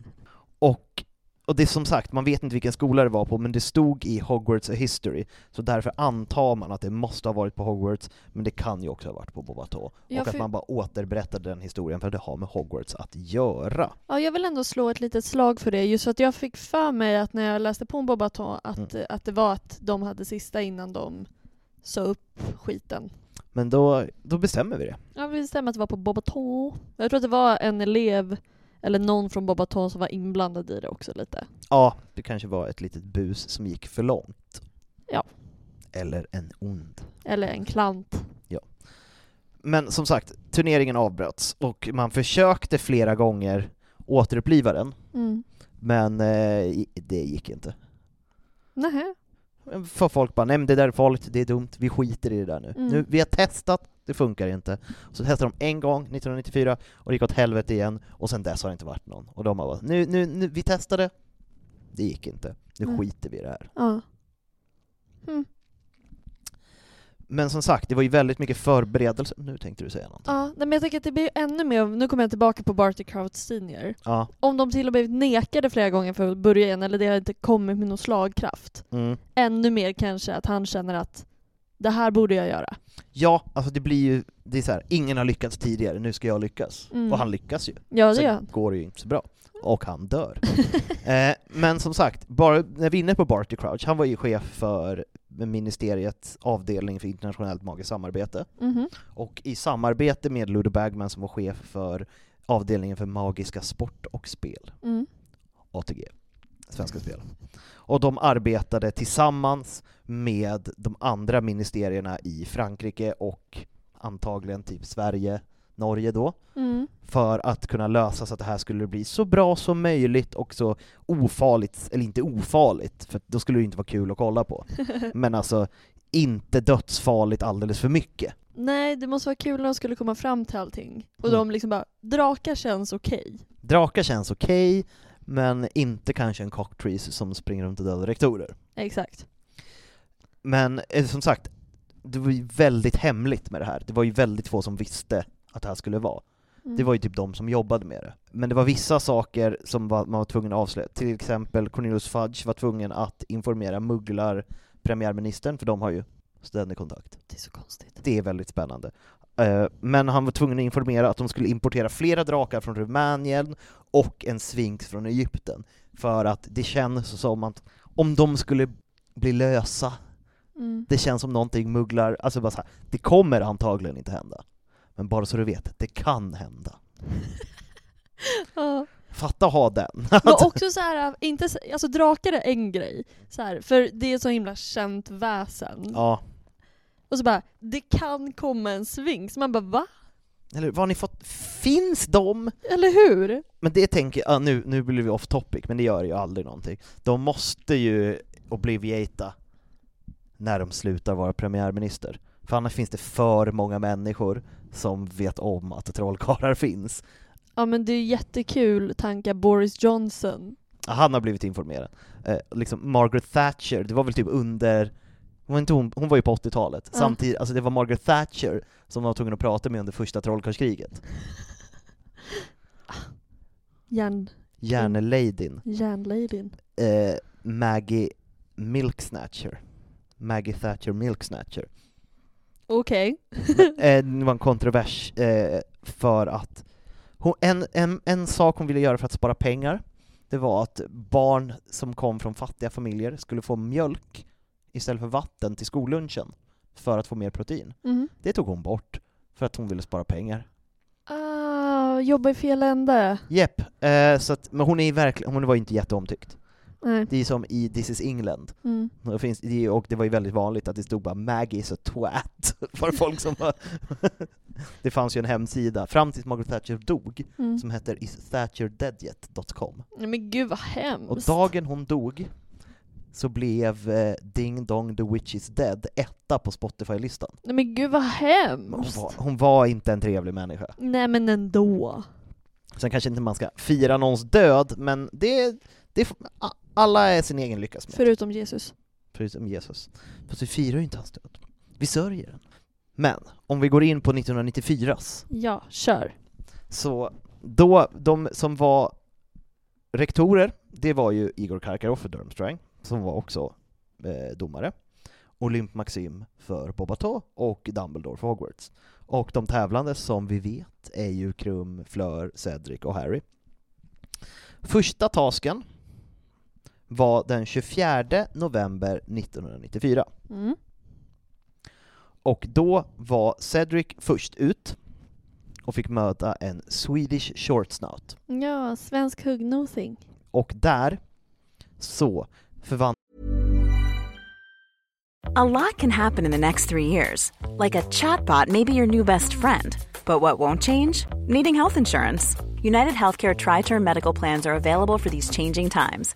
S2: och, och det är som sagt, man vet inte vilken skola det var på, men det stod i Hogwarts A History, så därför antar man att det måste ha varit på Hogwarts, men det kan ju också ha varit på Bobato.
S1: Ja,
S2: och att
S1: för-
S2: man bara återberättade den historien för att det har med Hogwarts att göra.
S1: Ja, jag vill ändå slå ett litet slag för det, just för att jag fick för mig att när jag läste på om Bobaton att, eh, att det var att de hade sista innan de sa upp skiten.
S2: Men då, då bestämmer vi det.
S1: Ja, vi stämmer att det var på Bobaton. Jag tror att det var en elev, eller någon från Bobaton som var inblandad i det också lite.
S2: Ja, det kanske var ett litet bus som gick för långt.
S1: Ja.
S2: Eller en ond.
S1: Eller en klant.
S2: Men som sagt, turneringen avbröts och man försökte flera gånger återuppliva den,
S1: Mm.
S2: men eh, i- det gick inte.
S1: Nähä.
S2: För folk bara, nej men det där är farligt, det är dumt, vi skiter i det där nu.
S1: Mm.
S2: nu vi har testat, det funkar inte. Så testade de en gång, 1994, och det gick åt helvete igen, och sen dess har det inte varit någon. Och de har bara, nu, nu, nu, vi testade, det gick inte, nu
S1: Mm.
S2: skiter vi i det här.
S1: Ja.
S2: Men som sagt, det var ju väldigt mycket förberedelse. Nu tänkte du säga något.
S1: ja. Nej, men jag tänker att det blir ännu mer, nu kommer jag tillbaka på Barty Crouch Senior.
S2: Ja.
S1: Om de till och med blivit nekade flera gånger för att börja igen, eller det har inte kommit med någon slagkraft.
S2: Mm.
S1: Ännu mer kanske att han känner att det här borde jag göra.
S2: Ja, alltså det blir ju, det är så här, ingen har lyckats tidigare, nu ska jag lyckas.
S1: Mm.
S2: Och han lyckas ju.
S1: Ja, det
S2: Sen
S1: gör han. Mm.
S2: går det ju inte så bra. Och han dör. [LAUGHS] eh, men som sagt, bara, när vi är inne på Barty Crouch, han var ju chef för ministeriets avdelning för internationellt magiskt samarbete.
S1: Mhm.
S2: Och i samarbete med Ludo Bagman som var chef för avdelningen för magiska sport och spel,
S1: Mm.
S2: ATG, Svenska Spel. Och de arbetade tillsammans med de andra ministerierna i Frankrike och antagligen typ Sverige, Norge då
S1: Mm.
S2: för att kunna lösa så att det här skulle bli så bra som möjligt och så ofarligt, eller inte ofarligt, för då skulle det ju inte vara kul att kolla på. Men alltså, inte dödsfarligt alldeles för mycket.
S1: Nej, det måste vara kul när de skulle komma fram till allting. Och
S2: Mm.
S1: de liksom bara, drakar känns okej.
S2: Drakar känns okej, men inte kanske en cocktrees som springer runt och dödar rektorer.
S1: Exakt.
S2: Men eh, som sagt, det var ju väldigt hemligt med det här. Det var ju väldigt få som visste att det här skulle vara.
S1: Mm.
S2: Det var ju typ de som jobbade med det. Men det var vissa saker som var, man var tvungen att avslöja. Till exempel Cornelius Fudge var tvungen att informera mugglar premiärministern, för de har ju ständig kontakt.
S1: Det är så konstigt.
S2: Det är väldigt spännande. Eh, Men han var tvungen att informera att de skulle importera flera drakar från Rumänien och en svinx från Egypten. För att det känns som att om de skulle bli lösa,
S1: Mm.
S2: det känns som någonting mugglar, alltså bara så här, det kommer antagligen inte hända. Men bara så du vet, det kan hända.
S1: [LAUGHS] Ja.
S2: Fatta ha den. [LAUGHS]
S1: Men också så här, inte, så- alltså drakar är en grej, så här, för det är så himla känt väsen.
S2: ja.
S1: Och så bara, det kan komma en sving. Så man bara, va?
S2: Eller vad har ni fått? Finns de?
S1: Eller hur?
S2: Men det tänker jag, ah, nu, nu blir vi off topic, men det gör ju aldrig någonting. De måste ju obliviata när de slutar vara premiärminister. För annars finns det för många människor som vet om att trollkarlar [LAUGHS] finns.
S1: Ja men det är ju jättekul tanka Boris Johnson.
S2: Ah, Han har blivit informerad. Eh, liksom Margaret Thatcher, det var väl typ under hon var, inte hon, hon var ju på 80-talet,
S1: Ja.
S2: samtidigt, alltså det var Margaret Thatcher som var tvungen att prata med under första trollkarlskriget.
S1: Järn,
S2: Järnladyn.
S1: järnladyn.
S2: eh, Maggie Milksnatcher. Maggie Thatcher Milksnatcher.
S1: [LAUGHS] Okej.
S2: Eh, det var en kontrovers eh, för att hon, en, en, en sak hon ville göra för att spara pengar det var att barn som kom från fattiga familjer skulle få mjölk istället för vatten till skollunchen för att få mer protein.
S1: Mhm.
S2: Det tog hon bort för att hon ville spara pengar.
S1: Ah, jobba i fel ände.
S2: Jepp, eh, så att, men hon, är verkligen, hon var ju inte jätteomtyckt.
S1: Nej.
S2: Det är som i This is England,
S1: Mm.
S2: Det finns, det- och det var ju väldigt vanligt att det stod bara 'Maggie is a twat' [LAUGHS] för folk som var... det fanns ju en hemsida, fram tills Margaret Thatcher dog,
S1: Mm.
S2: som heter isthatcherdeadyet.com.
S1: Nej, men gud vad
S2: Och
S1: hemskt.
S2: dagen hon dog så blev eh, Ding Dong The Witch Is Dead etta på Spotify-listan.
S1: Nej men gud vad
S2: Men Hon
S1: hemskt.
S2: var, hon var inte en trevlig människa.
S1: Nej men ändå.
S2: Sen kanske inte man ska fira någons död, men det, det får- a- alla är sin egen lyckas med.
S1: Förutom Jesus.
S2: Förutom Jesus. Fast vi firar ju inte hans död. Vi sörjer den. Men, om vi går in på 1994s,
S1: Ja, kör.
S2: så då, de som var rektorer, det var ju Igor Karkaroff för Durmstrang, som var också eh, domare, Olymp Maxim för Bobato och Dumbledore för Hogwarts. Och de tävlande som vi vet är ju Krum, Fleur, Cedric och Harry. Första tasken var den 24 november 1994.
S1: Mm.
S2: Och då var Cedric först ut och fick möta en Swedish short snout.
S1: Ja, svensk huggnosing.
S2: Och där så förvandlades
S3: A lot can happen in the next three years. Like a chatbot may be your new best friend. But what won't change? Needing health insurance. United Healthcare Tri Term Medical Plans are available for these changing times.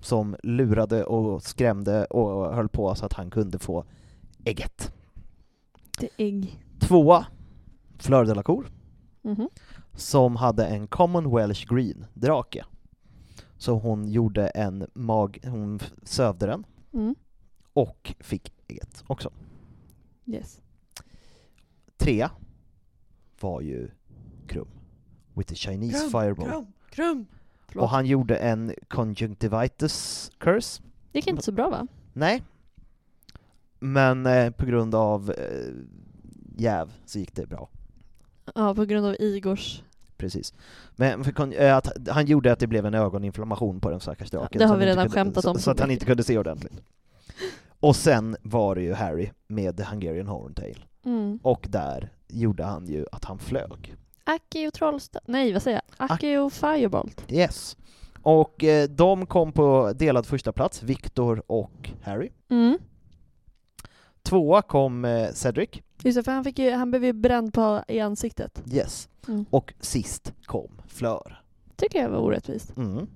S2: som lurade och skrämde och höll på så att han kunde få ägget.
S1: Det är ägg.
S2: Tvåa, Fleur de la Cour,
S1: Mhm.
S2: som hade en common welsh green, drake. Så hon gjorde en mag... Hon f- sövde den
S1: Mm.
S2: och fick ägget också.
S1: Yes.
S2: Trea var ju Krum, with the Chinese fireball.
S1: krum.
S2: Och han gjorde en conjunctivitis curse.
S1: Det gick inte så bra va?
S2: Nej. Men eh, på grund av eh, jäv så gick det bra.
S1: Ja, på grund av Igors.
S2: Precis. Men för kon- eh, att, han gjorde att det blev en ögoninflammation på den stackars draken.
S1: det har
S2: så han
S1: vi
S2: inte
S1: redan
S2: kunde,
S1: skämtat
S2: så,
S1: om
S2: Så,
S1: så
S2: att han
S1: mycket.
S2: inte kunde se ordentligt. Och sen var det ju Harry med The Hungarian Horntail.
S1: Mm.
S2: Och där gjorde han ju att han flög.
S1: Aki och Trollstav... Nej, vad säger jag? Aki och Firebolt.
S2: Yes. Och eh, de kom på delad första plats, Victor och Harry.
S1: Mm.
S2: Tvåa kom eh, Cedric.
S1: Just det, för han, fick ju, han blev ju bränd på i ansiktet.
S2: Yes.
S1: Mm.
S2: Och sist kom Flör.
S1: tycker jag var orättvist.
S2: Mm.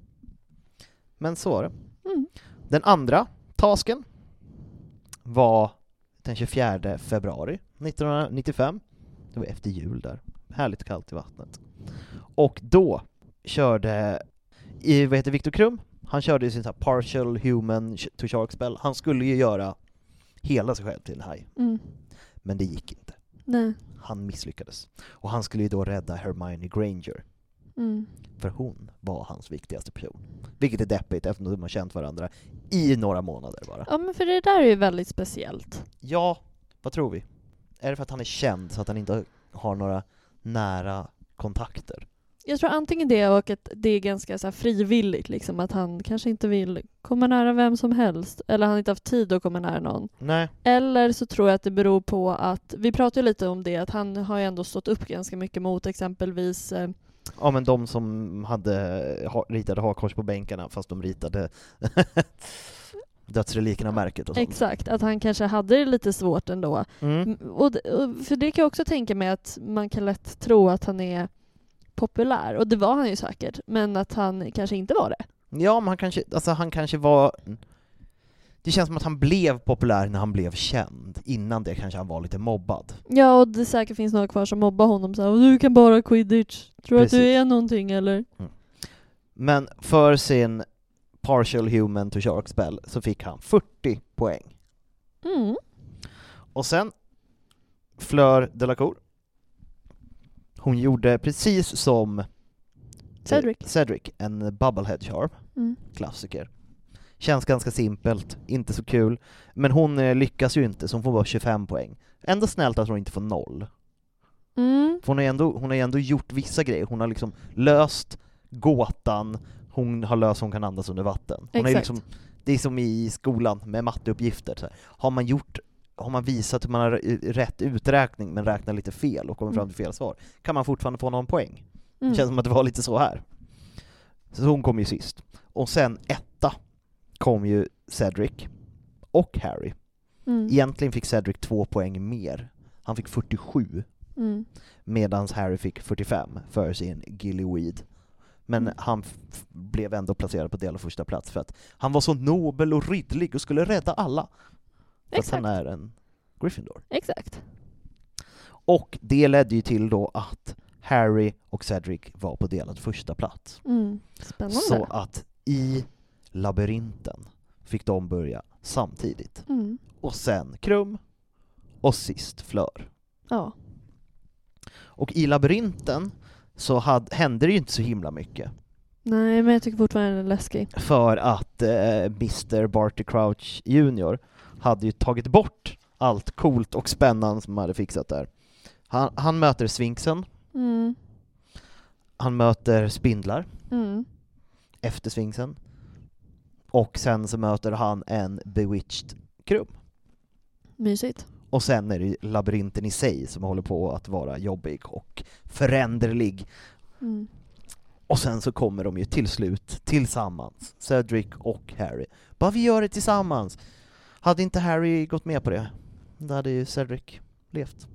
S2: Men så var det.
S1: Mm.
S2: Den andra tasken var den 24 februari 1995. Det var efter jul där. Härligt kallt i vattnet. Och då körde, i, vad heter Viktor Krum? Han körde ju sin så här partial human sh- to shark spell. Han skulle ju göra hela sig själv till en haj,
S1: Mm.
S2: men det gick inte.
S1: Nej.
S2: Han misslyckades. Och han skulle ju då rädda Hermione Granger.
S1: Mm.
S2: För hon var hans viktigaste person. Vilket är deppigt eftersom de har känt varandra i några månader bara.
S1: Ja, men för det där är ju väldigt speciellt.
S2: Ja, vad tror vi? Är det för att han är känd så att han inte har några nära kontakter?
S1: Jag tror antingen det och att det är ganska så här frivilligt, liksom, att han kanske inte vill komma nära vem som helst, eller han har inte haft tid att komma nära någon.
S2: Nej.
S1: Eller så tror jag att det beror på att, vi pratade ju lite om det, att han har ju ändå stått upp ganska mycket mot exempelvis eh,
S2: Ja men de som hade ha, ritade hakkors på bänkarna fast de ritade [LAUGHS] dödsrelikerna märket och sånt.
S1: Exakt, att han kanske hade det lite svårt ändå.
S2: Mm.
S1: Mm. Och, d- och, för det kan jag också tänka mig att man kan lätt tro att han är populär, och det var han ju säkert, men att han kanske inte var det.
S2: Ja men han kanske, alltså han kanske var... Det känns som att han blev populär när han blev känd. Innan det kanske han var lite mobbad.
S1: Ja, och det säkert finns några kvar som mobbar honom så här, "Och du kan bara quidditch, tror att du
S2: Precis.
S1: är någonting eller?
S2: Men för sin partial human to shark spell så fick han 40 poäng.
S1: Mm.
S2: Och sen Fleur Delacour. Hon gjorde precis som
S1: Cedric.
S2: Cedric en bubblehead charm,
S1: Mm.
S2: klassiker. Känns ganska simpelt, inte så kul. Men hon eh, lyckas ju inte, så hon får bara 25 poäng. Ändå snällt att hon inte får noll.
S1: Mm.
S2: För hon har ju ändå, hon har ju ändå gjort vissa grejer, hon har liksom löst gåtan, hon har löst så hon kan andas under vatten. Hon har ju
S1: Exakt.
S2: liksom, det är som i skolan med matteuppgifter, så här. har man gjort har man visat hur man har eh, rätt uträkning men räknar lite fel och kommer fram till fel svar, kan man fortfarande få någon poäng.
S1: Mm.
S2: Det känns som att det var lite så här. Så hon kom ju sist. Och sen etta kom ju Cedric och Harry.
S1: Mm.
S2: Egentligen fick Cedric två poäng mer. Han fick 47
S1: Mm.
S2: medan Harry fick 45 för sin Gillyweed. Men
S1: Mm.
S2: han f- blev ändå placerad på del och första plats för att han var så nobel och ridderlig och skulle rädda alla. För att
S1: Exakt.
S2: han är en Gryffindor.
S1: Exakt.
S2: Och det ledde ju till då att Harry och Cedric var på delad första plats.
S1: Mm. Spännande.
S2: Så att i labyrinten fick de börja samtidigt.
S1: Mm.
S2: Och sen Krum och sist Flör.
S1: Ja.
S2: Och i labyrinten så had, hände det ju inte så himla mycket.
S1: Nej, men jag tycker fortfarande den är läskig.
S2: För att eh, Mr Barty Crouch Jr hade ju tagit bort allt coolt och spännande som han hade fixat där. Han, han möter Sfinksen,
S1: Mm.
S2: han möter spindlar
S1: Mm.
S2: efter Sfinksen och sen så möter han en bewitched krum.
S1: Mysigt.
S2: Och sen är det ju labyrinten i sig som håller på att vara jobbig och föränderlig
S1: Mm.
S2: Och sen så kommer de ju till slut tillsammans, Cedric och Harry. Bara vi gör det tillsammans! Hade inte Harry gått med på det, då hade ju Cedric levt.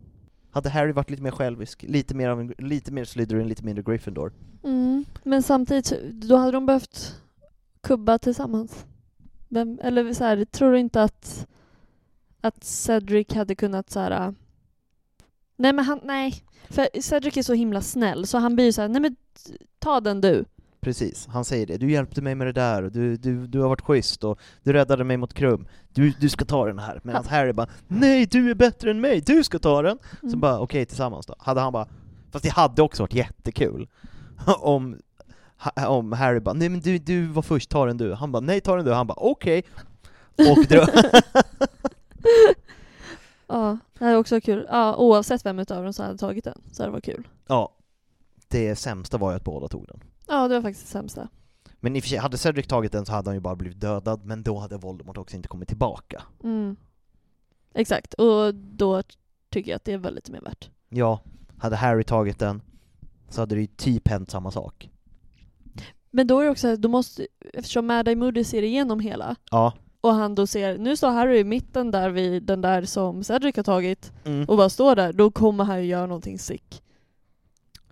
S2: Hade Harry varit lite mer självisk, lite mer, av en, lite mer Slytherin, lite mindre Gryffindor.
S1: Mm. Men samtidigt, så- då hade de behövt kubba tillsammans. Vem, eller så här, tror du inte att, att Cedric hade kunnat så här... äh, Nej men han, nej. För Cedric är så himla snäll så han blir ju så här, nej men t- ta den du.
S2: Precis, han säger det. Du hjälpte mig med det där, och du, du, du har varit schysst och du räddade mig mot Krum. Du, du ska ta den här. Medan Harry bara Nej, du är bättre än mig, du ska ta den! Så
S1: Mm.
S2: bara okej, tillsammans då. Hade han bara, fast det hade också varit jättekul [LAUGHS] om, ha- om Harry bara nej men du, du var först, ta den du. Han bara nej, ta den du. Han bara okej. Och dra.
S1: [LAUGHS] Ja, det här är också kul. Ja, oavsett vem utav dem som hade tagit den så hade det var kul.
S2: ja, det sämsta var ju att båda tog den.
S1: Ja, det var faktiskt det sämsta.
S2: Men i och för sig, hade Cedric tagit den så hade han ju bara blivit dödad, men då hade Voldemort också inte kommit tillbaka.
S1: Mm. Exakt, och då tycker jag att det var lite mer värt.
S2: Ja, hade Harry tagit den så hade det ju typ hänt samma sak.
S1: Men då är det också, då måste, eftersom Mad Eye Moody ser igenom hela
S2: Ja.
S1: och han då ser, nu står Harry i mitten där vid den där som Cedric har tagit
S2: Mm.
S1: och bara står där, då kommer han ju göra någonting sick.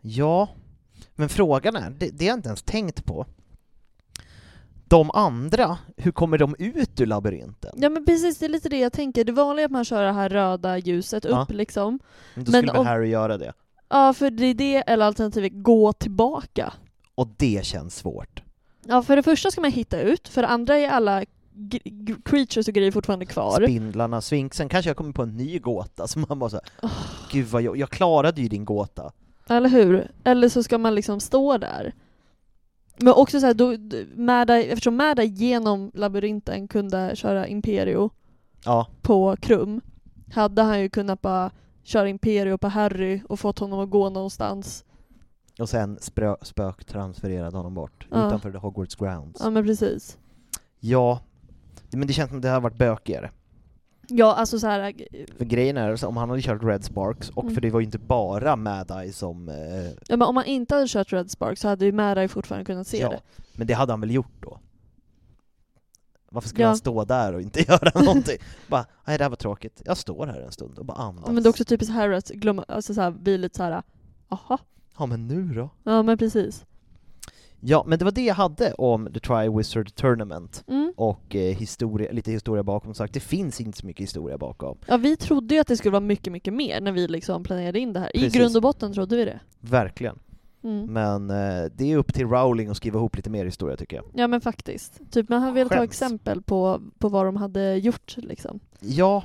S2: Ja, men frågan är, det, det har jag inte ens tänkt på. De andra, hur kommer de ut ur labyrinten?
S1: Ja men precis, det är lite det jag tänker. Det vanliga är att man kör det här röda ljuset upp
S2: Ja.
S1: liksom.
S2: Då skulle
S1: men
S2: väl
S1: om-
S2: Harry göra det?
S1: Ja, för det är det, eller alternativet gå tillbaka.
S2: Och det känns svårt.
S1: Ja, för det första ska man hitta ut, för det andra är alla g- g- creatures och grejer fortfarande kvar.
S2: Spindlarna, svinksen, kanske jag kommer på en ny gåta [LAUGHS] som man bara såhär, gud vad jag, jag klarade ju din gåta.
S1: Eller hur? Eller så ska man liksom stå där. Men också så här, då, d- Mada, eftersom Mada genom labyrinten kunde köra Imperio
S2: Ja,
S1: på Krum hade han ju kunnat bara köra Imperio på Harry och fått honom att gå någonstans.
S2: och sen sprö, spök transfererade honom bort
S1: Ja.
S2: utanför Hogwarts grounds.
S1: Ja men precis.
S2: Ja, men det känns som det hade varit bökigare.
S1: Ja alltså så här,
S2: För grejen är, så om han hade kört Red Sparks, och
S1: Mm.
S2: för det var ju inte bara Mad-Eye som... Eh,
S1: ja, men om man inte hade kört Red Spark så hade ju Mada ju fortfarande kunnat se
S2: ja,
S1: det.
S2: men det hade han väl gjort då? Varför skulle
S1: Ja.
S2: han stå där och inte [LAUGHS] göra någonting? bara, nej det här var tråkigt, jag står här en stund och bara andas.
S1: Men det är också typiskt Harry att glömma, alltså så här, bli lite så här, aha.
S2: Ja men nu då?
S1: Ja men precis.
S2: Ja, men det var det jag hade om The Tri-Wizard Tournament
S1: Mm.
S2: och eh, historia, lite historia bakom. Som sagt, det finns inte så mycket historia bakom.
S1: Ja, vi trodde ju att det skulle vara mycket, mycket mer när vi liksom planerade in det här.
S2: Precis.
S1: I grund och botten trodde vi det.
S2: Verkligen.
S1: Mm.
S2: Men eh, det är upp till Rowling att skriva ihop lite mer historia tycker jag.
S1: Ja men faktiskt. Typ man hade velat ta
S2: Skäms.
S1: exempel på, på vad de hade gjort liksom.
S2: Ja,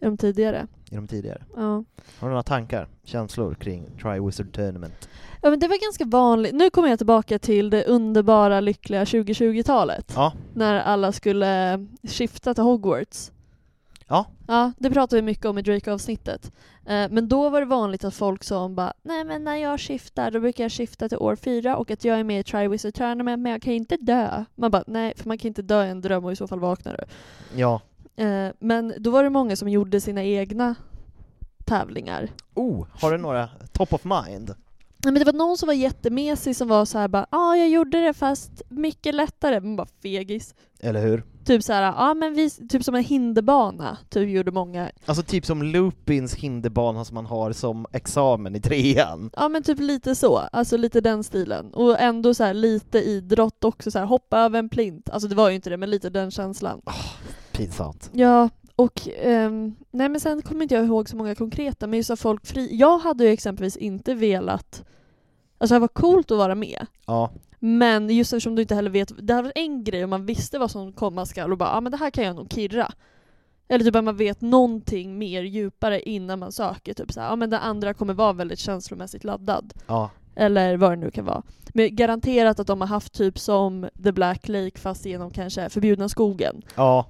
S1: i de tidigare.
S2: i de tidigare.
S1: Ja.
S2: Har du några tankar, känslor kring Try Wizard Tournament?
S1: ja, men det var ganska vanligt. Nu kommer jag tillbaka till det underbara, lyckliga 2020-talet.
S2: Ja,
S1: När alla skulle skifta till Hogwarts.
S2: Ja.
S1: Ja, det pratade vi mycket om i Drake-avsnittet. Eh, Men då var det vanligt att folk som bara Nej men när jag skiftar då brukar jag skifta till år fyra och att jag är med i Triwizard Tournament men jag kan inte dö. Man bara nej, för man kan inte dö i en dröm och i så fall vaknar du.
S2: ja.
S1: Eh, Men då var det många som gjorde sina egna tävlingar.
S2: Oh, har du några top of mind?
S1: Nej, men det var någon som var jättemesig som var så här bara ja ah, jag gjorde det fast mycket lättare. Man bara fegis.
S2: Eller hur?
S1: Typ så här, ja ah, men vi, typ som en hinderbana, typ gjorde många.
S2: Alltså typ som Lupins hinderbana som man har som examen i trean.
S1: Ja men typ lite så, alltså lite den stilen. Och ändå så här lite idrott också, så här hoppa över en plint. Alltså det var ju inte det, men lite den känslan.
S2: Pinsamt.
S1: Ja, och ehm, nej men sen kommer inte jag ihåg så många konkreta, men just att folk fri... Jag hade ju exempelvis inte velat... Alltså det var coolt att vara med,
S2: Ja,
S1: Men just eftersom du inte heller vet, det här var en grej om man visste vad som komma skall och bara ah, men det här kan jag nog kirra. Eller typ att man vet någonting mer djupare innan man söker. Typ såhär, ja ah, men den andra kommer vara väldigt känslomässigt laddad.
S2: ja.
S1: Eller vad det nu kan vara. Men garanterat att de har haft typ som The Black Lake fast genom kanske förbjudna skogen.
S2: Ja,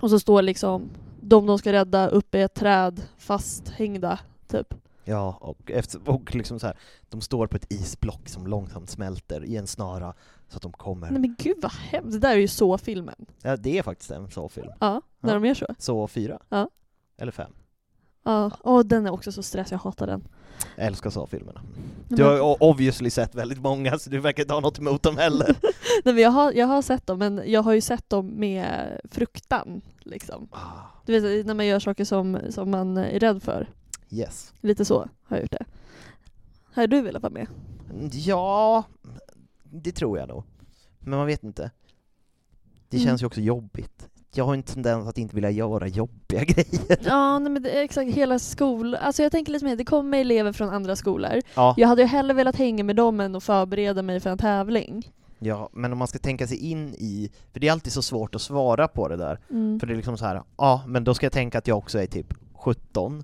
S1: Och så står liksom de de ska rädda uppe i ett träd fasthängda. Typ.
S2: ja. Och, efter, och liksom så här, de står på ett isblock som långsamt smälter i en snara så att de
S1: Nej
S2: kommer.
S1: men gud vad hemskt. Det där är ju så filmen.
S2: Ja, det är faktiskt en så-film.
S1: Ja, när
S2: Ja.
S1: de gör så.
S2: Så fyra.
S1: Ja.
S2: Eller fem.
S1: Ja, åh den är också så stressig, jag hatar den.
S2: Jag älskar så-filmerna. Du
S1: Men-
S2: har ju o- obviously sett väldigt många så du verkar inte ha något emot
S1: [LAUGHS]
S2: dem heller.
S1: Nej, men jag, har, jag har sett dem, men jag har ju sett dem med fruktan. Liksom.
S2: Ah,
S1: Du vet, när man gör saker som, som man är rädd för.
S2: yes.
S1: Lite så har jag gjort det. Har du velat vara med?
S2: Ja, det tror jag nog. Men man vet inte. Det
S1: Mm.
S2: känns ju också jobbigt. Jag har en tendens att inte vilja göra jobbiga [LAUGHS] grejer.
S1: Mm. Ja, nej, men det är exakt. Hela skol... Alltså jag tänker lite mer, det kommer elever från andra skolor.
S2: Ja.
S1: Jag hade ju hellre velat hänga med dem än att förbereda mig för en tävling.
S2: ja, men om man ska tänka sig in i, för det är alltid så svårt att svara på det där.
S1: Mm.
S2: För det är liksom så här, ja, men då ska jag tänka att jag också är typ 17,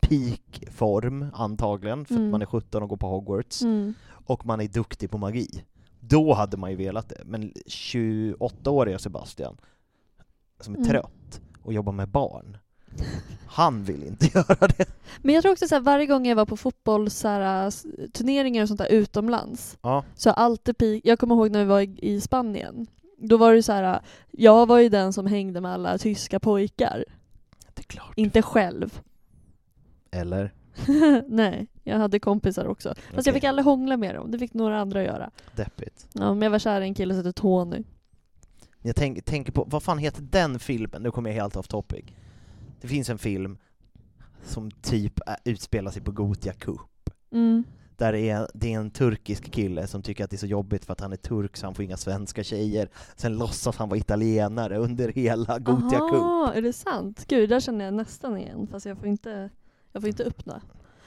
S2: peakform antagligen, för
S1: Mm.
S2: att man är 17 och går på Hogwarts,
S1: Mm.
S2: och man är duktig på magi. Då hade man ju velat det, men 28-åriga Sebastian, som är
S1: Mm.
S2: trött och jobbar med barn, han vill inte [LAUGHS] göra det.
S1: Men jag tror också att varje gång jag var på fotbollsturneringar och sånt där utomlands
S2: Ja,
S1: Så jag har alltid pi- jag kommer ihåg när vi var i- i Spanien. Då var det ju så här, jag var ju den som hängde med alla tyska pojkar.
S2: det är klart.
S1: Inte själv. [LAUGHS]
S2: Eller?
S1: Nej, jag hade kompisar också. Fast jag
S2: Okej.
S1: fick aldrig hångla med dem, det fick några andra göra.
S2: Deppigt.
S1: Ja, men jag var kär i en kille som hette Tony.
S2: Jag tänk, tänker på, vad fan heter den filmen? Nu kommer jag helt off topic. Det finns en film som typ är- utspelar sig på Gothia Cup.
S1: Mm.
S2: Där det är, det är en turkisk kille som tycker att det är så jobbigt för att han är turk så han får inga svenska tjejer. Sen låtsas han vara italienare under hela Gothia Cup.
S1: Aha, är det sant? Gud, där känner jag nästan igen. Fast jag får inte, jag får inte öppna.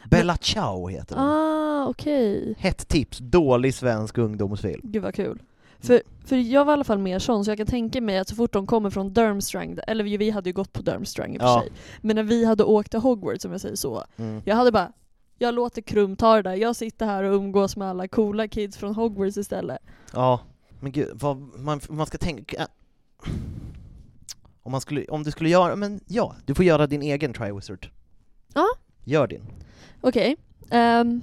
S2: Bella Ciao heter den.
S1: Ah, okej.
S2: Hett tips, dålig svensk ungdomsfilm.
S1: Gud vad
S2: Mm.
S1: kul. För, för jag var i alla fall mer sån, så jag kan tänka mig att så fort de kommer från Durmstrang, eller vi vi hade ju gått på Durmstrang i och för
S2: Ja.
S1: sig, men när vi hade åkt till Hogwarts om jag säger så,
S2: Mm.
S1: jag hade bara jag låter Krum ta det där, jag sitter här och umgås med alla coola kids från Hogwarts istället.
S2: Ja, men gud, vad man, man ska tänka... Om, man skulle, om du skulle göra, men ja, du får göra din egen Triwizard.
S1: Ja.
S2: Gör din.
S1: Okej. ehm,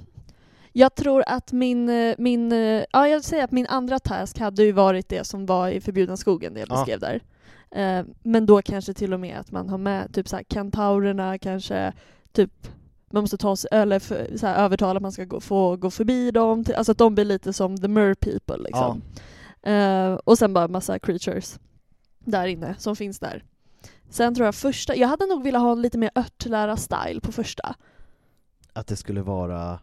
S1: jag tror att min, eh, min, eh, ja jag säger att min andra task hade ju varit det som var i Förbjudna skogen, det jag
S2: Ja.
S1: beskrev där. Eh, men då kanske till och med att man har med typ såhär kantaurerna kanske, typ man måste ta sig, eller för, så här, övertala att man ska gå, få gå förbi dem, till, alltså att de blir lite som the mer people liksom. Eh, och sen bara massa creatures där inne som finns där. Sen tror jag första, jag hade nog velat ha en lite mer örtlära-style på första.
S2: Att det skulle vara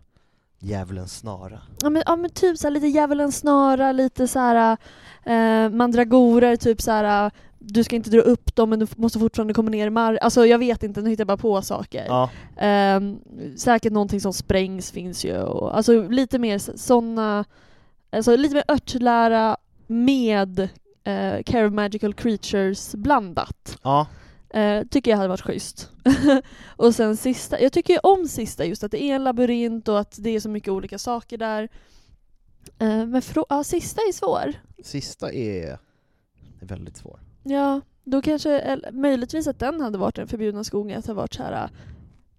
S2: djävulens snara.
S1: Ja men, ja, men typ såhär, lite djävulens snara, lite såhär eh, mandragorer, typ såhär du ska inte dra upp dem men du f- måste fortfarande komma ner i marken. Alltså jag vet inte, nu hittar jag bara på saker.
S2: Ja.
S1: Ehm, säkert någonting som sprängs finns ju. Och, alltså lite mer s- såna, alltså lite mer örtlära med eh, Care of Magical Creatures blandat.
S2: ja.
S1: Eh, Eh, tycker jag hade varit schysst. [LAUGHS] och sen sista, jag tycker ju om sista just att det är en labyrint och att det är så mycket olika saker där. Eh, men frå- ja, sista är svår.
S2: Sista är, är väldigt svår.
S1: Ja, då kanske, eller, möjligtvis att den hade varit den förbjudna skogen, att det varit så här äh,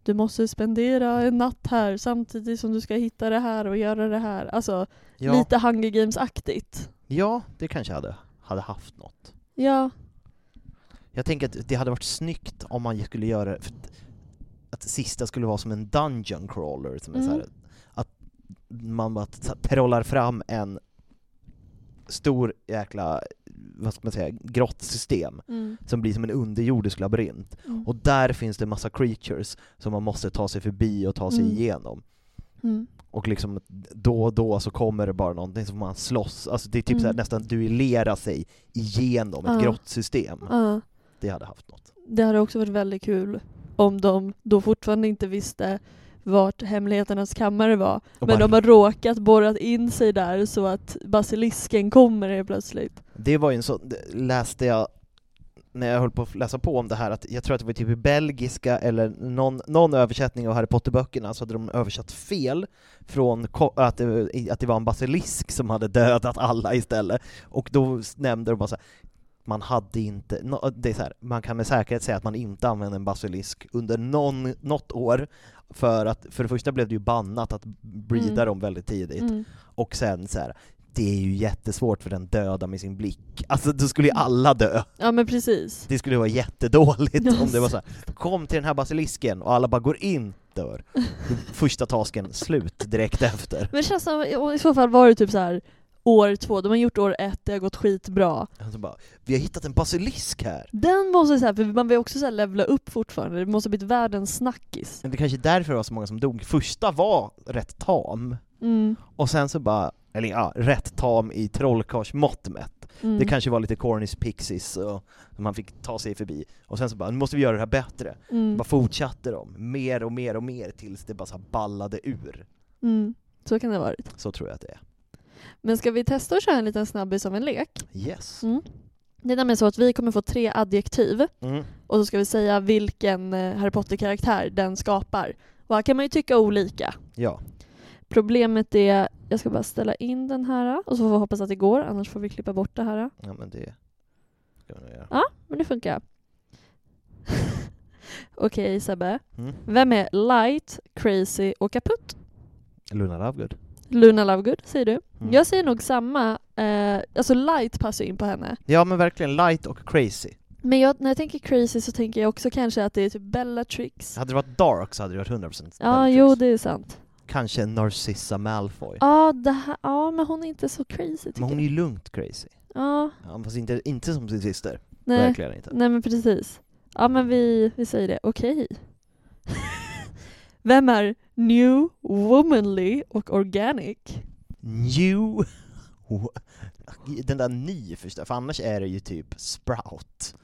S1: du måste spendera en natt här samtidigt som du ska hitta det här och göra det här. Alltså
S2: Ja,
S1: lite Hunger Games-aktigt.
S2: ja det kanske hade, hade haft något.
S1: Ja,
S2: Jag tänker att det hade varit snyggt om man skulle göra för att, att sista skulle vara som en dungeon crawler, som är så här,
S1: Mm.
S2: att man bara t- trollar fram en stor jäkla, vad ska man säga, grottsystem
S1: mm.
S2: som blir som en underjordisk labyrint.
S1: Mm.
S2: Och där finns det massa creatures som man måste ta sig förbi och ta sig
S1: Mm.
S2: igenom.
S1: Mm.
S2: Och liksom då och då så kommer det bara någonting som man slåss, alltså det är typ
S1: Mm.
S2: så här, nästan duellera sig igenom ett
S1: Ja.
S2: grottsystem.
S1: Ja.
S2: Det hade haft något.
S1: Det hade också varit väldigt kul om de då fortfarande inte visste vart hemligheternas kammare var.
S2: Och
S1: men
S2: bara-
S1: de har råkat borrat in sig där så att basilisken kommer helt plötsligt.
S2: Det var ju en sån, det läste jag när jag höll på att läsa på om det här, att jag tror att det var typ i belgiska eller någon, någon översättning av Harry Potter-böckerna så hade de översatt fel från ko- att det, att det var en basilisk som hade dödat alla istället, och då s- nämnde de bara så här, man hade inte, nå- det är så här, man kan med säkerhet säga att man inte använde en basilisk under någon, något år, för att för det första blev det ju bannat att breeda
S1: Mm.
S2: dem väldigt tidigt,
S1: Mm.
S2: och sen så här. Det är ju jättesvårt för den döda med sin blick. Alltså då skulle ju alla dö.
S1: Ja men precis.
S2: Det skulle vara jättedåligt om det var
S1: Yes.
S2: så här. kom till den här basilisken och alla bara går in, dör. Första tasken, slut direkt efter.
S1: Men det känns som, och i så fall var det typ så här år två, de har gjort år ett, det har gått skitbra.
S2: Alltså bara, vi har hittat en basilisk här.
S1: Den måste så här, för man vill också så här levla upp fortfarande, det måste ha blivit världens snackis.
S2: Men det kanske är därför det var så många som dog. Första var rätt tam,
S1: Mm,
S2: och sen så bara, eller ja, rätt tam i trollkarlsmått mätt.
S1: mm.
S2: Det kanske var lite Cornish Pixies och som man fick ta sig förbi. Och sen så bara, nu måste vi göra det här bättre.
S1: mm,
S2: Bara fortsatte de, mer och mer och mer tills det bara så här ballade ur.
S1: mm. Så kan det ha varit.
S2: Så tror jag att det är.
S1: Men ska vi testa att köra en liten snabbis av en lek?
S2: Yes.
S1: Mm. Det är nämligen så att vi kommer få tre adjektiv
S2: Mm.
S1: och så ska vi säga vilken eh, Harry Potter-karaktär den skapar. Och här kan man ju tycka olika.
S2: Ja.
S1: Problemet är, jag ska bara ställa in den här eh, och så får vi hoppas att det går, annars får vi klippa bort det här. eh.
S2: ja, men det ska vi nog göra.
S1: Men det funkar. [LAUGHS] Okej Sebbe.
S2: Mm.
S1: Vem är Light, Crazy och Kaputt?
S2: Luna Lovegood.
S1: Luna Lovegood säger du.
S2: Mm.
S1: Jag säger nog samma. Eh, alltså Light passar ju in på henne.
S2: Ja men verkligen light och crazy.
S1: Men jag, när jag tänker Crazy så tänker jag också kanske att det är typ Bellatrix.
S2: Hade det varit dark så hade det varit 100%
S1: Ja,
S2: Bellatrix.
S1: jo det är sant.
S2: Kanske Narcissa Malfoy.
S1: Ja, det här, ja, men hon är inte så crazy tycker
S2: men hon är ju lugnt crazy.
S1: jag. Ja,
S2: Ja, fast inte, inte som sin syster.
S1: nej. Mm.
S2: Verkligen inte.
S1: Nej men precis. Ja men vi, vi säger det. Okej. [LAUGHS] Vem är New, Womanly och Organic?
S2: New... [LAUGHS] Den där ny förstår jag, för annars är det ju typ Sprout.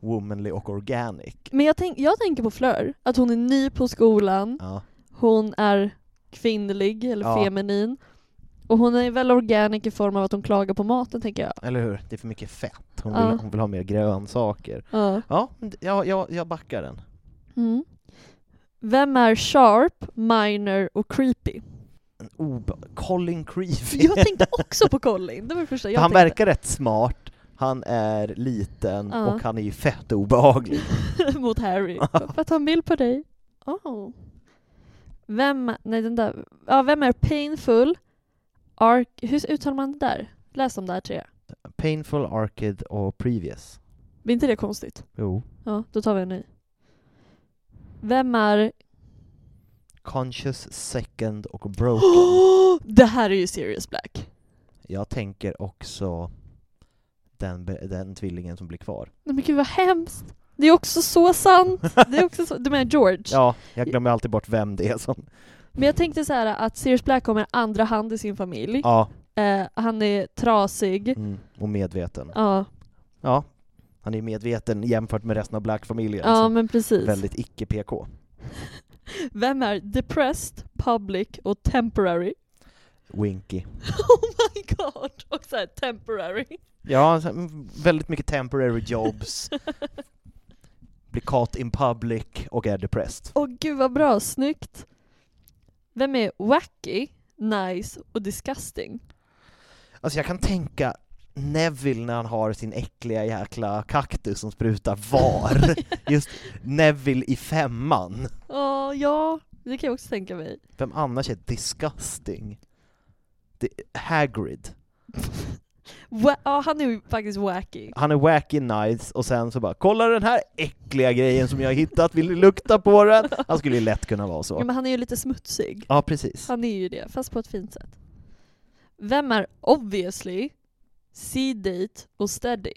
S2: Womanly och organic.
S1: Men jag, tänk, jag tänker på Fleur, att hon är ny på skolan,
S2: Ja.
S1: hon är kvinnlig eller
S2: Ja.
S1: feminin och hon är väl organic i form av att hon klagar på maten tänker jag.
S2: Eller hur? Det är för mycket fett. Hon,
S1: Ja.
S2: vill, hon vill ha mer grönsaker.
S1: Ja.
S2: Ja, men d- jag, jag, jag backar den.
S1: Mm. Vem är sharp, minor och creepy?
S2: En obe- Colin Creevy.
S1: [LAUGHS] Jag tänkte också på Colin, det var det första jag
S2: han
S1: tänkte.
S2: verkar rätt smart, han är liten
S1: Ja.
S2: och han är ju fett obehaglig.
S1: [LAUGHS] mot Harry. För att ta en bild på dig. Oh. Vem, nej den där, ja vem är painful, arc, hur uttalar man det där? Läs de där tre.
S2: Painful, Arcade och Previous.
S1: Blir inte det konstigt?
S2: Jo.
S1: Ja, då tar vi en ny. Vem är... [GASPS]
S2: Conscious, Second och Broken.
S1: [GASPS] Oh, det här är ju Sirius Black.
S2: Jag tänker också den, be- den tvillingen som blir kvar.
S1: Nej men gud vad hemskt. Det är också så sant.
S2: [LAUGHS]
S1: Det är också så... Du menar George?
S2: Ja, jag glömmer alltid bort vem det är som...
S1: Men jag tänkte så här att Sirius Black kommer andra hand i sin familj.
S2: Ja,
S1: Eh, han är trasig.
S2: mm, och medveten.
S1: Ja,
S2: Ja, han är ju medveten jämfört med resten av Black-familjen.
S1: ja
S2: som
S1: men precis.
S2: Alltså, väldigt icke-PK.
S1: Vem är depressed, public och temporary? [LAUGHS]
S2: Winky.
S1: Oh my god! Och såhär temporary.
S2: Ja, så- mm, väldigt mycket temporary jobs. [LAUGHS] blir caught in public och är depressed.
S1: Åh gud vad bra, snyggt! Vem är wacky, nice och disgusting?
S2: Alltså jag kan tänka Neville när han har sin äckliga jäkla kaktus som sprutar [LAUGHS] var. Just Neville i femman.
S1: Åh, ja, det kan jag också tänka mig.
S2: Vem annars är disgusting? Det, Hagrid.
S1: Wa- ja, han är ju faktiskt wacky.
S2: Han är wacky nice och sen så bara ”Kolla den här äckliga grejen som jag har hittat, vill ni lukta på den?” Han skulle ju lätt kunna vara
S1: Ja,
S2: så.
S1: men han är ju lite smutsig.
S2: alltså. Ja, precis.
S1: Han är ju det, fast på ett fint sätt. Vem är obviously, sedate och steady?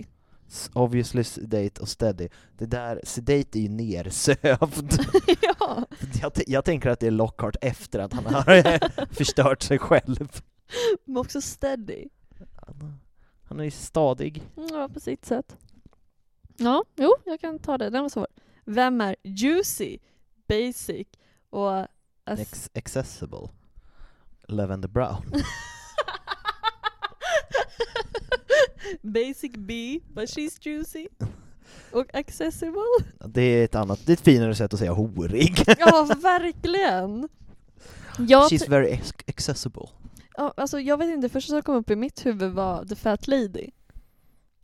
S2: S- Obviously sedate och steady. Det där, sedate är ju nersövd. [LAUGHS]
S1: [LAUGHS] ja,
S2: Jag, t- jag tänker att det är Lockhart efter att han har [LAUGHS] förstört sig själv.
S1: men också steady.
S2: Han- Han är ju stadig.
S1: Mm, Ja, på sitt sätt. Ja, jo, jag kan ta det. Den var svår. Vem är juicy, basic och... ass-
S2: Ex- accessible. Lavender Brown.
S1: [LAUGHS] basic B, but she's
S2: [LAUGHS]
S1: juicy. Och accessible. [LAUGHS]
S2: Det är ett annat, det är ett finare sätt att säga horig.
S1: Ja, verkligen! Jag,
S2: She's very ex- accessible.
S1: ja, alltså, jag vet inte, det första som kom upp i mitt huvud var The Fat Lady.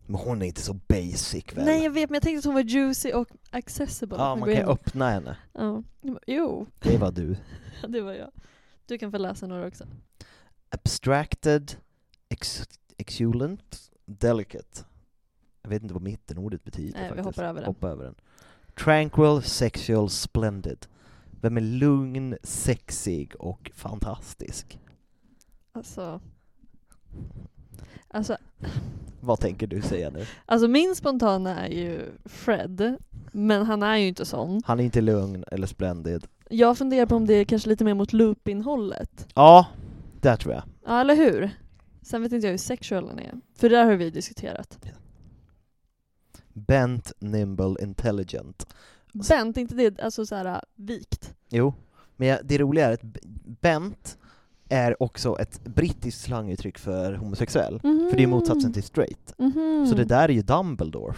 S2: Men hon är inte så basic väl?
S1: Nej jag vet, men jag tänkte att hon var juicy och accessible.
S2: ja,
S1: Men
S2: man
S1: gå
S2: kan
S1: igenom.
S2: öppna henne.
S1: Ja. Jo,
S2: Det var du.
S1: det var jag. Du kan få läsa några också.
S2: Abstracted, ex- exulent, delicate. Jag vet inte vad mittenordet betyder
S1: Nej, vi
S2: faktiskt.
S1: hoppar över den.
S2: Hoppa över den. Tranquil, sexual, splendid. Vem är lugn, sexig och fantastisk?
S1: Alltså... Alltså,
S2: Vad tänker du säga nu?
S1: alltså min spontana är ju Fred, men han är ju inte sån.
S2: Han är inte lugn eller splendid.
S1: Jag funderar på om det är kanske lite mer mot loop-innehållet.
S2: Ja, där tror jag.
S1: Ja, eller hur? Sen vet inte jag hur sexualen är, för där har vi diskuterat.
S2: Bent, nimble, intelligent.
S1: Bent, inte det alltså så här vikt?
S2: Jo, men jag- det roliga är att b- bent är också ett brittiskt slanguttryck för homosexuell. För det är motsatsen till straight.
S1: Mhm.
S2: Så det där är ju Dumbledore.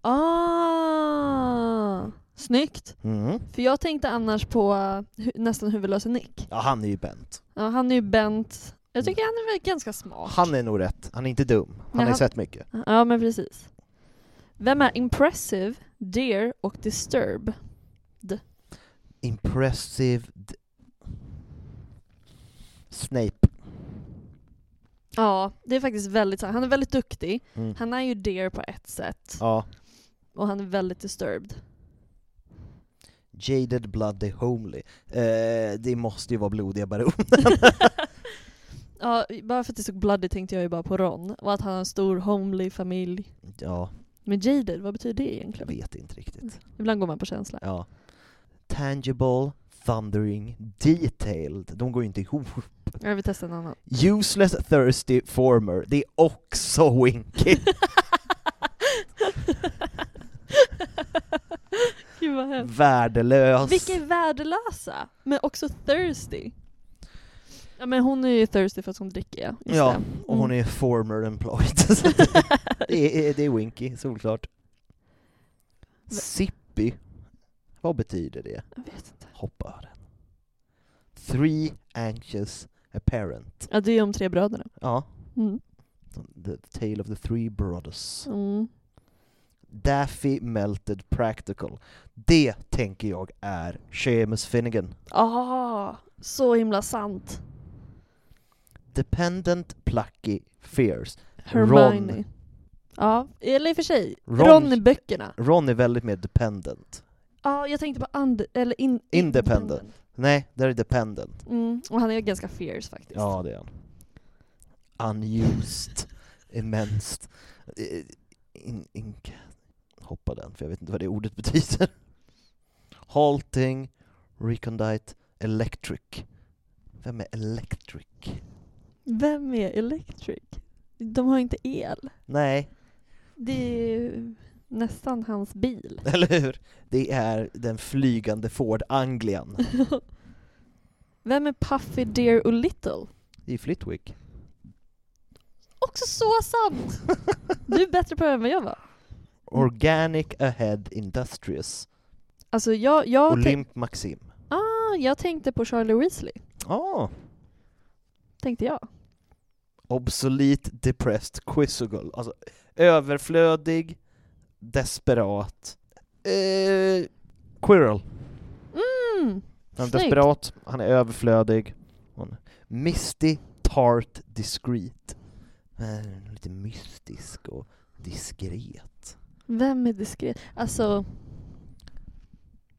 S1: Ah, snyggt!
S2: Mm.
S1: För jag tänkte annars på eh, hu- nästan huvudlöse Nick.
S2: Ja, han är ju bent.
S1: Ja, han är ju bent. Jag tycker han är väl ganska smart.
S2: Han är nog rätt. Han är inte dum. Han
S1: Nej,
S2: har ju
S1: han-
S2: sett mycket.
S1: Ja, men precis. Vem är impressive, dear och disturb?
S2: Impressive... D- Snape.
S1: Ja, det är faktiskt väldigt sant. Han är väldigt duktig.
S2: Mm.
S1: Han är ju dear på ett sätt.
S2: Ja.
S1: Och han är väldigt
S2: [LAUGHS]
S1: disturbed.
S2: Jaded, bloody, homely. Eh, det måste ju vara blodiga baron.
S1: ja, bara för att det stod bloody tänkte jag ju bara på Ron. Och att han har en stor homely familj.
S2: [LAUGHS] Ja,
S1: Men jaded, vad betyder det
S2: jag
S1: egentligen?
S2: vet inte riktigt.
S1: Ibland går man på känsla.
S2: Ja. Tangible, thundering, detailed. De går ju inte ihop.
S1: Jag vill testa en annan.
S2: Useless, thirsty, former. Det är
S1: [LAUGHS]
S2: också Winky.
S1: [LAUGHS] Gud vad hemskt.
S2: Värdelös.
S1: Vilka är värdelösa? Men också thirsty. Ja men hon är ju thirsty för att hon dricker ja. Just
S2: Ja,
S1: det.
S2: och hon
S1: Mm.
S2: är former
S1: [LAUGHS]
S2: employed. Så det, det, är, det är Winky, solklart. Sippy. Vad betyder det?
S1: Jag vet inte.
S2: Hoppa över den. Three anxious apparent.
S1: Ja det är ju om tre bröderna.
S2: Ja.
S1: Mm.
S2: The tale of the three brothers.
S1: Mm.
S2: Daffy melted practical. Det tänker jag är Seamus Finnegan.
S1: Ah, så himla sant.
S2: Dependent, plucky, fierce.
S1: Hermione.
S2: Ron.
S1: Ja, eller i och för sig. Ron,
S2: Ron-
S1: i böckerna.
S2: Ron är väldigt mer dependent.
S1: Ja, jag tänkte på und- eller in-
S2: Independent. Nej, där är dependent.
S1: Mm. Och han är ganska fierce faktiskt.
S2: Ja, det är han. Unused. Immenst. Eh, In, in, hoppa den, för jag vet inte vad det ordet betyder. Halting, recondite, electric. Vem är electric?
S1: Vem är Electric? De har ju inte el.
S2: Nej,
S1: Det är ju nästan hans bil.
S2: [LAUGHS] eller hur? Det är den flygande Ford Anglian.
S1: Vem är Puffy, Dear och Little?
S2: Det är Flitwick.
S1: Också så sant! Du är bättre på det än vad jag var.
S2: Organic ahead industrious.
S1: Alltså jag, jag, tänk,
S2: Olymp Maxim.
S1: ah, jag tänkte på Charlie Weasley,
S2: Ah,
S1: tänkte jag.
S2: obsolete depressed quizzical. Alltså överflödig, desperat. Eh,
S1: Mm,
S2: Quirrell. Han är
S1: Snyggt.
S2: desperat, han är överflödig. Hon- Misty, tart, discreet. Eh, Lite mystisk och diskret.
S1: Vem är diskret? Alltså...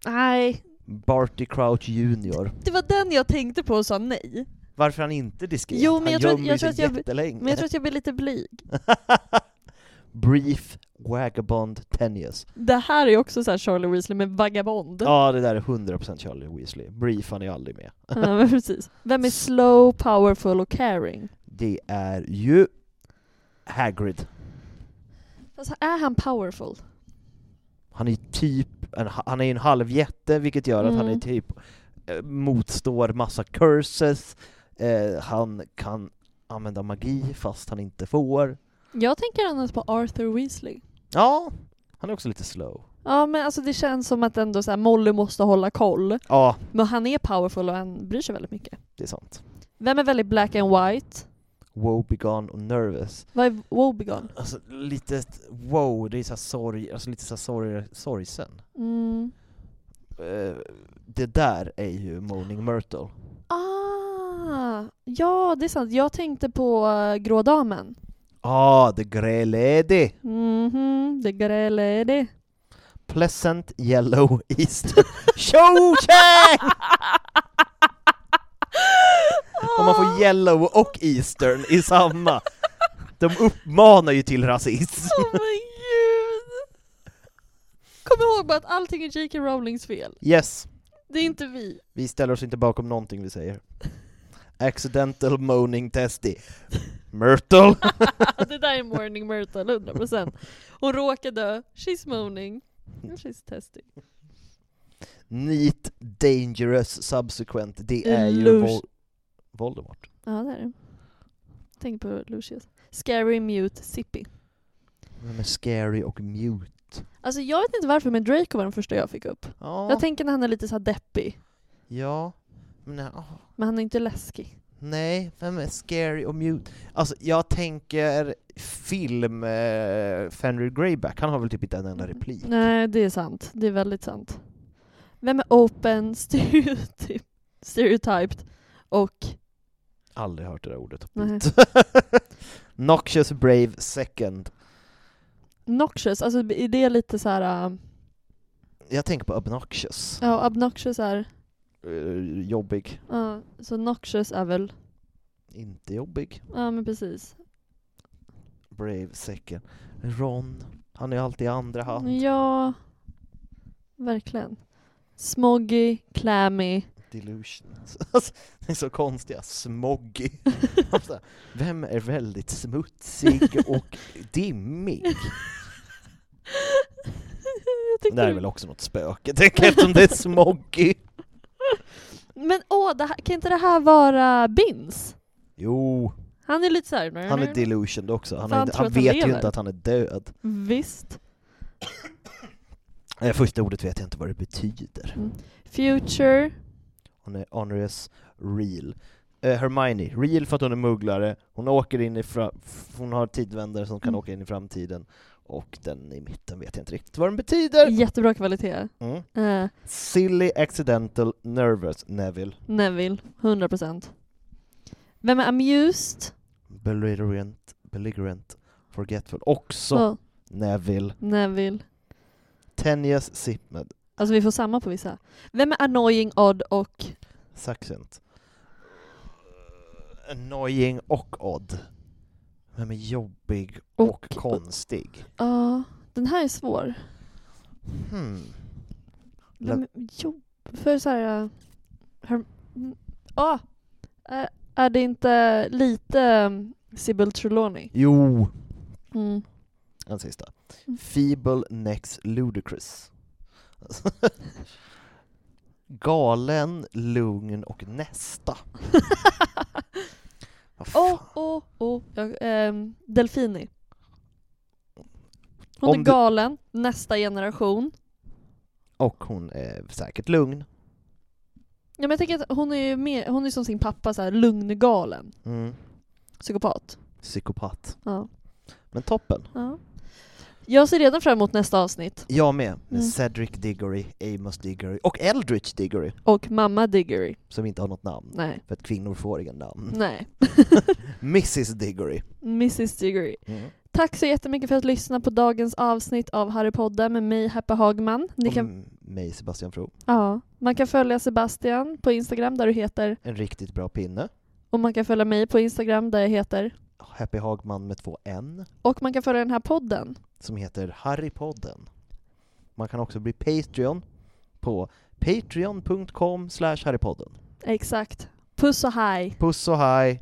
S1: Nej,
S2: Barty Crouch Junior.
S1: det var den jag tänkte på och sa nej.
S2: Varför är han inte diskret?
S1: Jo, men
S2: han
S1: jag tror att-
S2: gömmer
S1: jag tror
S2: sig
S1: att jag-
S2: jättelänge.
S1: Men jag tror att jag blir lite blyg.
S2: [LAUGHS] Brief Vagabond Tenius.
S1: Det här är också så här Charlie Weasley med vagabond.
S2: Ja, det där är 100% Charlie Weasley. Brief, han är aldrig med.
S1: [LAUGHS] Ja, men precis. Vem är slow, powerful och caring?
S2: Det är ju Hagrid.
S1: Alltså, är han powerful?
S2: Han är ju typ, en, han är ju en halvjätte vilket gör att han är
S1: Mm.
S2: typ eh, motstår massa curses, eh, han kan använda magi fast han inte får.
S1: Jag tänker annars på Arthur Weasley.
S2: Ja, han är också lite slow.
S1: Ja men alltså det känns som att ändå så här, Molly måste hålla koll.
S2: Ja,
S1: Men han är powerful och han bryr sig väldigt mycket.
S2: det är sant. Vem
S1: Vem är väldigt black and white?
S2: Woebegone och nervous.
S1: Vad är Wobegon?
S2: Alltså lite, wow, det är såhär sorg, alltså lite såhär sorg, sorgsen.
S1: Mm.
S2: Eh, det där är ju Moaning Myrtle.
S1: Ah, ja det är sant. Jag tänkte på uh, Grå Damen.
S2: Ah, the Grey Lady!
S1: Mhm, det gräla är det.
S2: Pleasant Yellow Easter Cho Chang! Om man
S1: Ah!
S2: får yellow och eastern i samma. De uppmanar ju till rasism.
S1: Åh men gud! Kom ihåg bara att allting är J.K. Rowlings fel.
S2: Yes,
S1: Det är inte vi.
S2: vi ställer oss inte bakom någonting vi säger. Accidental moaning testy. Myrtle!
S1: det där är Morning Myrtle, 100%. Hon råkar dö, she's moaning, and she's testing.
S2: [LAUGHS] Neat, dangerous, subsequent. Det är ju
S1: Lush.
S2: Vol- Voldemort.
S1: Ja det är det. Tänk på Lucius. Scary, mute, sippy.
S2: Men med scary och mute.
S1: Alltså jag vet inte varför men Draco var den första jag fick upp.
S2: Ja,
S1: Jag tänker när han är lite så här deppig.
S2: ja. Men, ja.
S1: Men han är inte läskig.
S2: Nej, vem är Scary och Mute? Alltså jag tänker film eh, Fenrir Greyback, han har väl typ inte en enda replik?
S1: Nej det är sant. Det är väldigt sant. Vem är open, [LAUGHS] stereotyp, stereotyped och...
S2: Aldrig hört det där ordet.
S1: Nej.
S2: [LAUGHS] Noxious Brave Second.
S1: Noxious, alltså är det lite så här... äh,
S2: Jag tänker på Obnoxious.
S1: Ja, obnoxious är...
S2: Eh, jobbig.
S1: Ja, så noxious är väl...
S2: Inte jobbig.
S1: Ja men precis.
S2: Brave Second. Ron. Han är alltid i andra hand.
S1: Ja, verkligen. Smoggy, clammy. [LAUGHS]
S2: Delusions. [LAUGHS] Alltså, det är så konstiga. Smoggy. Alltså, vem är väldigt smutsig och dimmig?
S1: Jag tyckte
S2: Det här är
S1: du-
S2: väl också något spöke, tänker jag, eftersom det är smoggy.
S1: Men åh, det här, kan inte det här vara Bins?
S2: Jo,
S1: Han är lite såhär...
S2: han är delusioned också. Han,
S1: Fan,
S2: är, inte-
S1: tror
S2: han
S1: att han
S2: vet ju
S1: lever.
S2: inte att han är död.
S1: Visst.
S2: Eh, Första ordet vet jag inte vad det betyder.
S1: Future.
S2: Hon är honorous real. Eh, Hermione, real för att hon är mugglare, hon åker in i fra- f- hon har tidvändare som kan
S1: Mm.
S2: åka in i framtiden, och den i mitten vet jag inte riktigt vad den betyder.
S1: Jättebra kvalitet.
S2: Mm.
S1: Eh,
S2: Silly, accidental, nervous, Neville.
S1: Neville. 100%. Vem är amused?
S2: Belligerent, belligerent, forgetful. Också
S1: Åh,
S2: Neville.
S1: Neville.
S2: Tenius, Sipmed.
S1: Alltså vi får samma på vissa. Vem är annoying, odd och...
S2: Succent. Annoying och odd. Vem är jobbig och,
S1: Och-
S2: konstig?
S1: Ja, den här är svår.
S2: Hmm.
S1: Mm. Vem,
S2: Vem-
S1: jo, för såhär... Her, mm, ah, är, är det inte lite um, Sybil Trelawney?
S2: Jo,
S1: Mm.
S2: den sista.
S1: Mm.
S2: Feeble next ludicrous. [LAUGHS] Alltså, Galen, lugn och nästa. Vad fan.
S1: Åh, åh, åh. Jag- oh, ehm, Delfini. Hon
S2: Om
S1: är
S2: du-
S1: galen, nästa generation.
S2: Och hon är säkert lugn.
S1: Ja, men jag tänker att hon är ju mer, hon är som sin pappa, så här lugngalen.
S2: Mm.
S1: Psykopat.
S2: Psykopat.
S1: Ja.
S2: Men toppen.
S1: ja. Jag ser redan fram emot nästa avsnitt.
S2: Jag med. Med
S1: Mm.
S2: Cedric Diggory, Amos Diggory och Eldritch Diggory,
S1: Och mamma Diggory.
S2: som inte har något namn.
S1: Nej.
S2: För att kvinnor får inga namn.
S1: Nej.
S2: Mrs Diggory.
S1: Mrs Diggory.
S2: Mm.
S1: Tack så jättemycket för att lyssna på dagens avsnitt av Harrypodden med mig, Heppa Hagman. Ni kan,
S2: Och mig, Sebastian Fro.
S1: ja, man kan följa Sebastian på Instagram där du heter,
S2: En riktigt bra pinne.
S1: och man kan följa mig på Instagram där jag heter,
S2: Happy Hagman med två N,
S1: och man kan följa den här podden.
S2: som heter Harrypodden. Man kan också bli Patreon på patreon.com slash harrypodden.
S1: Exakt. Puss och hej!
S2: Puss och hej!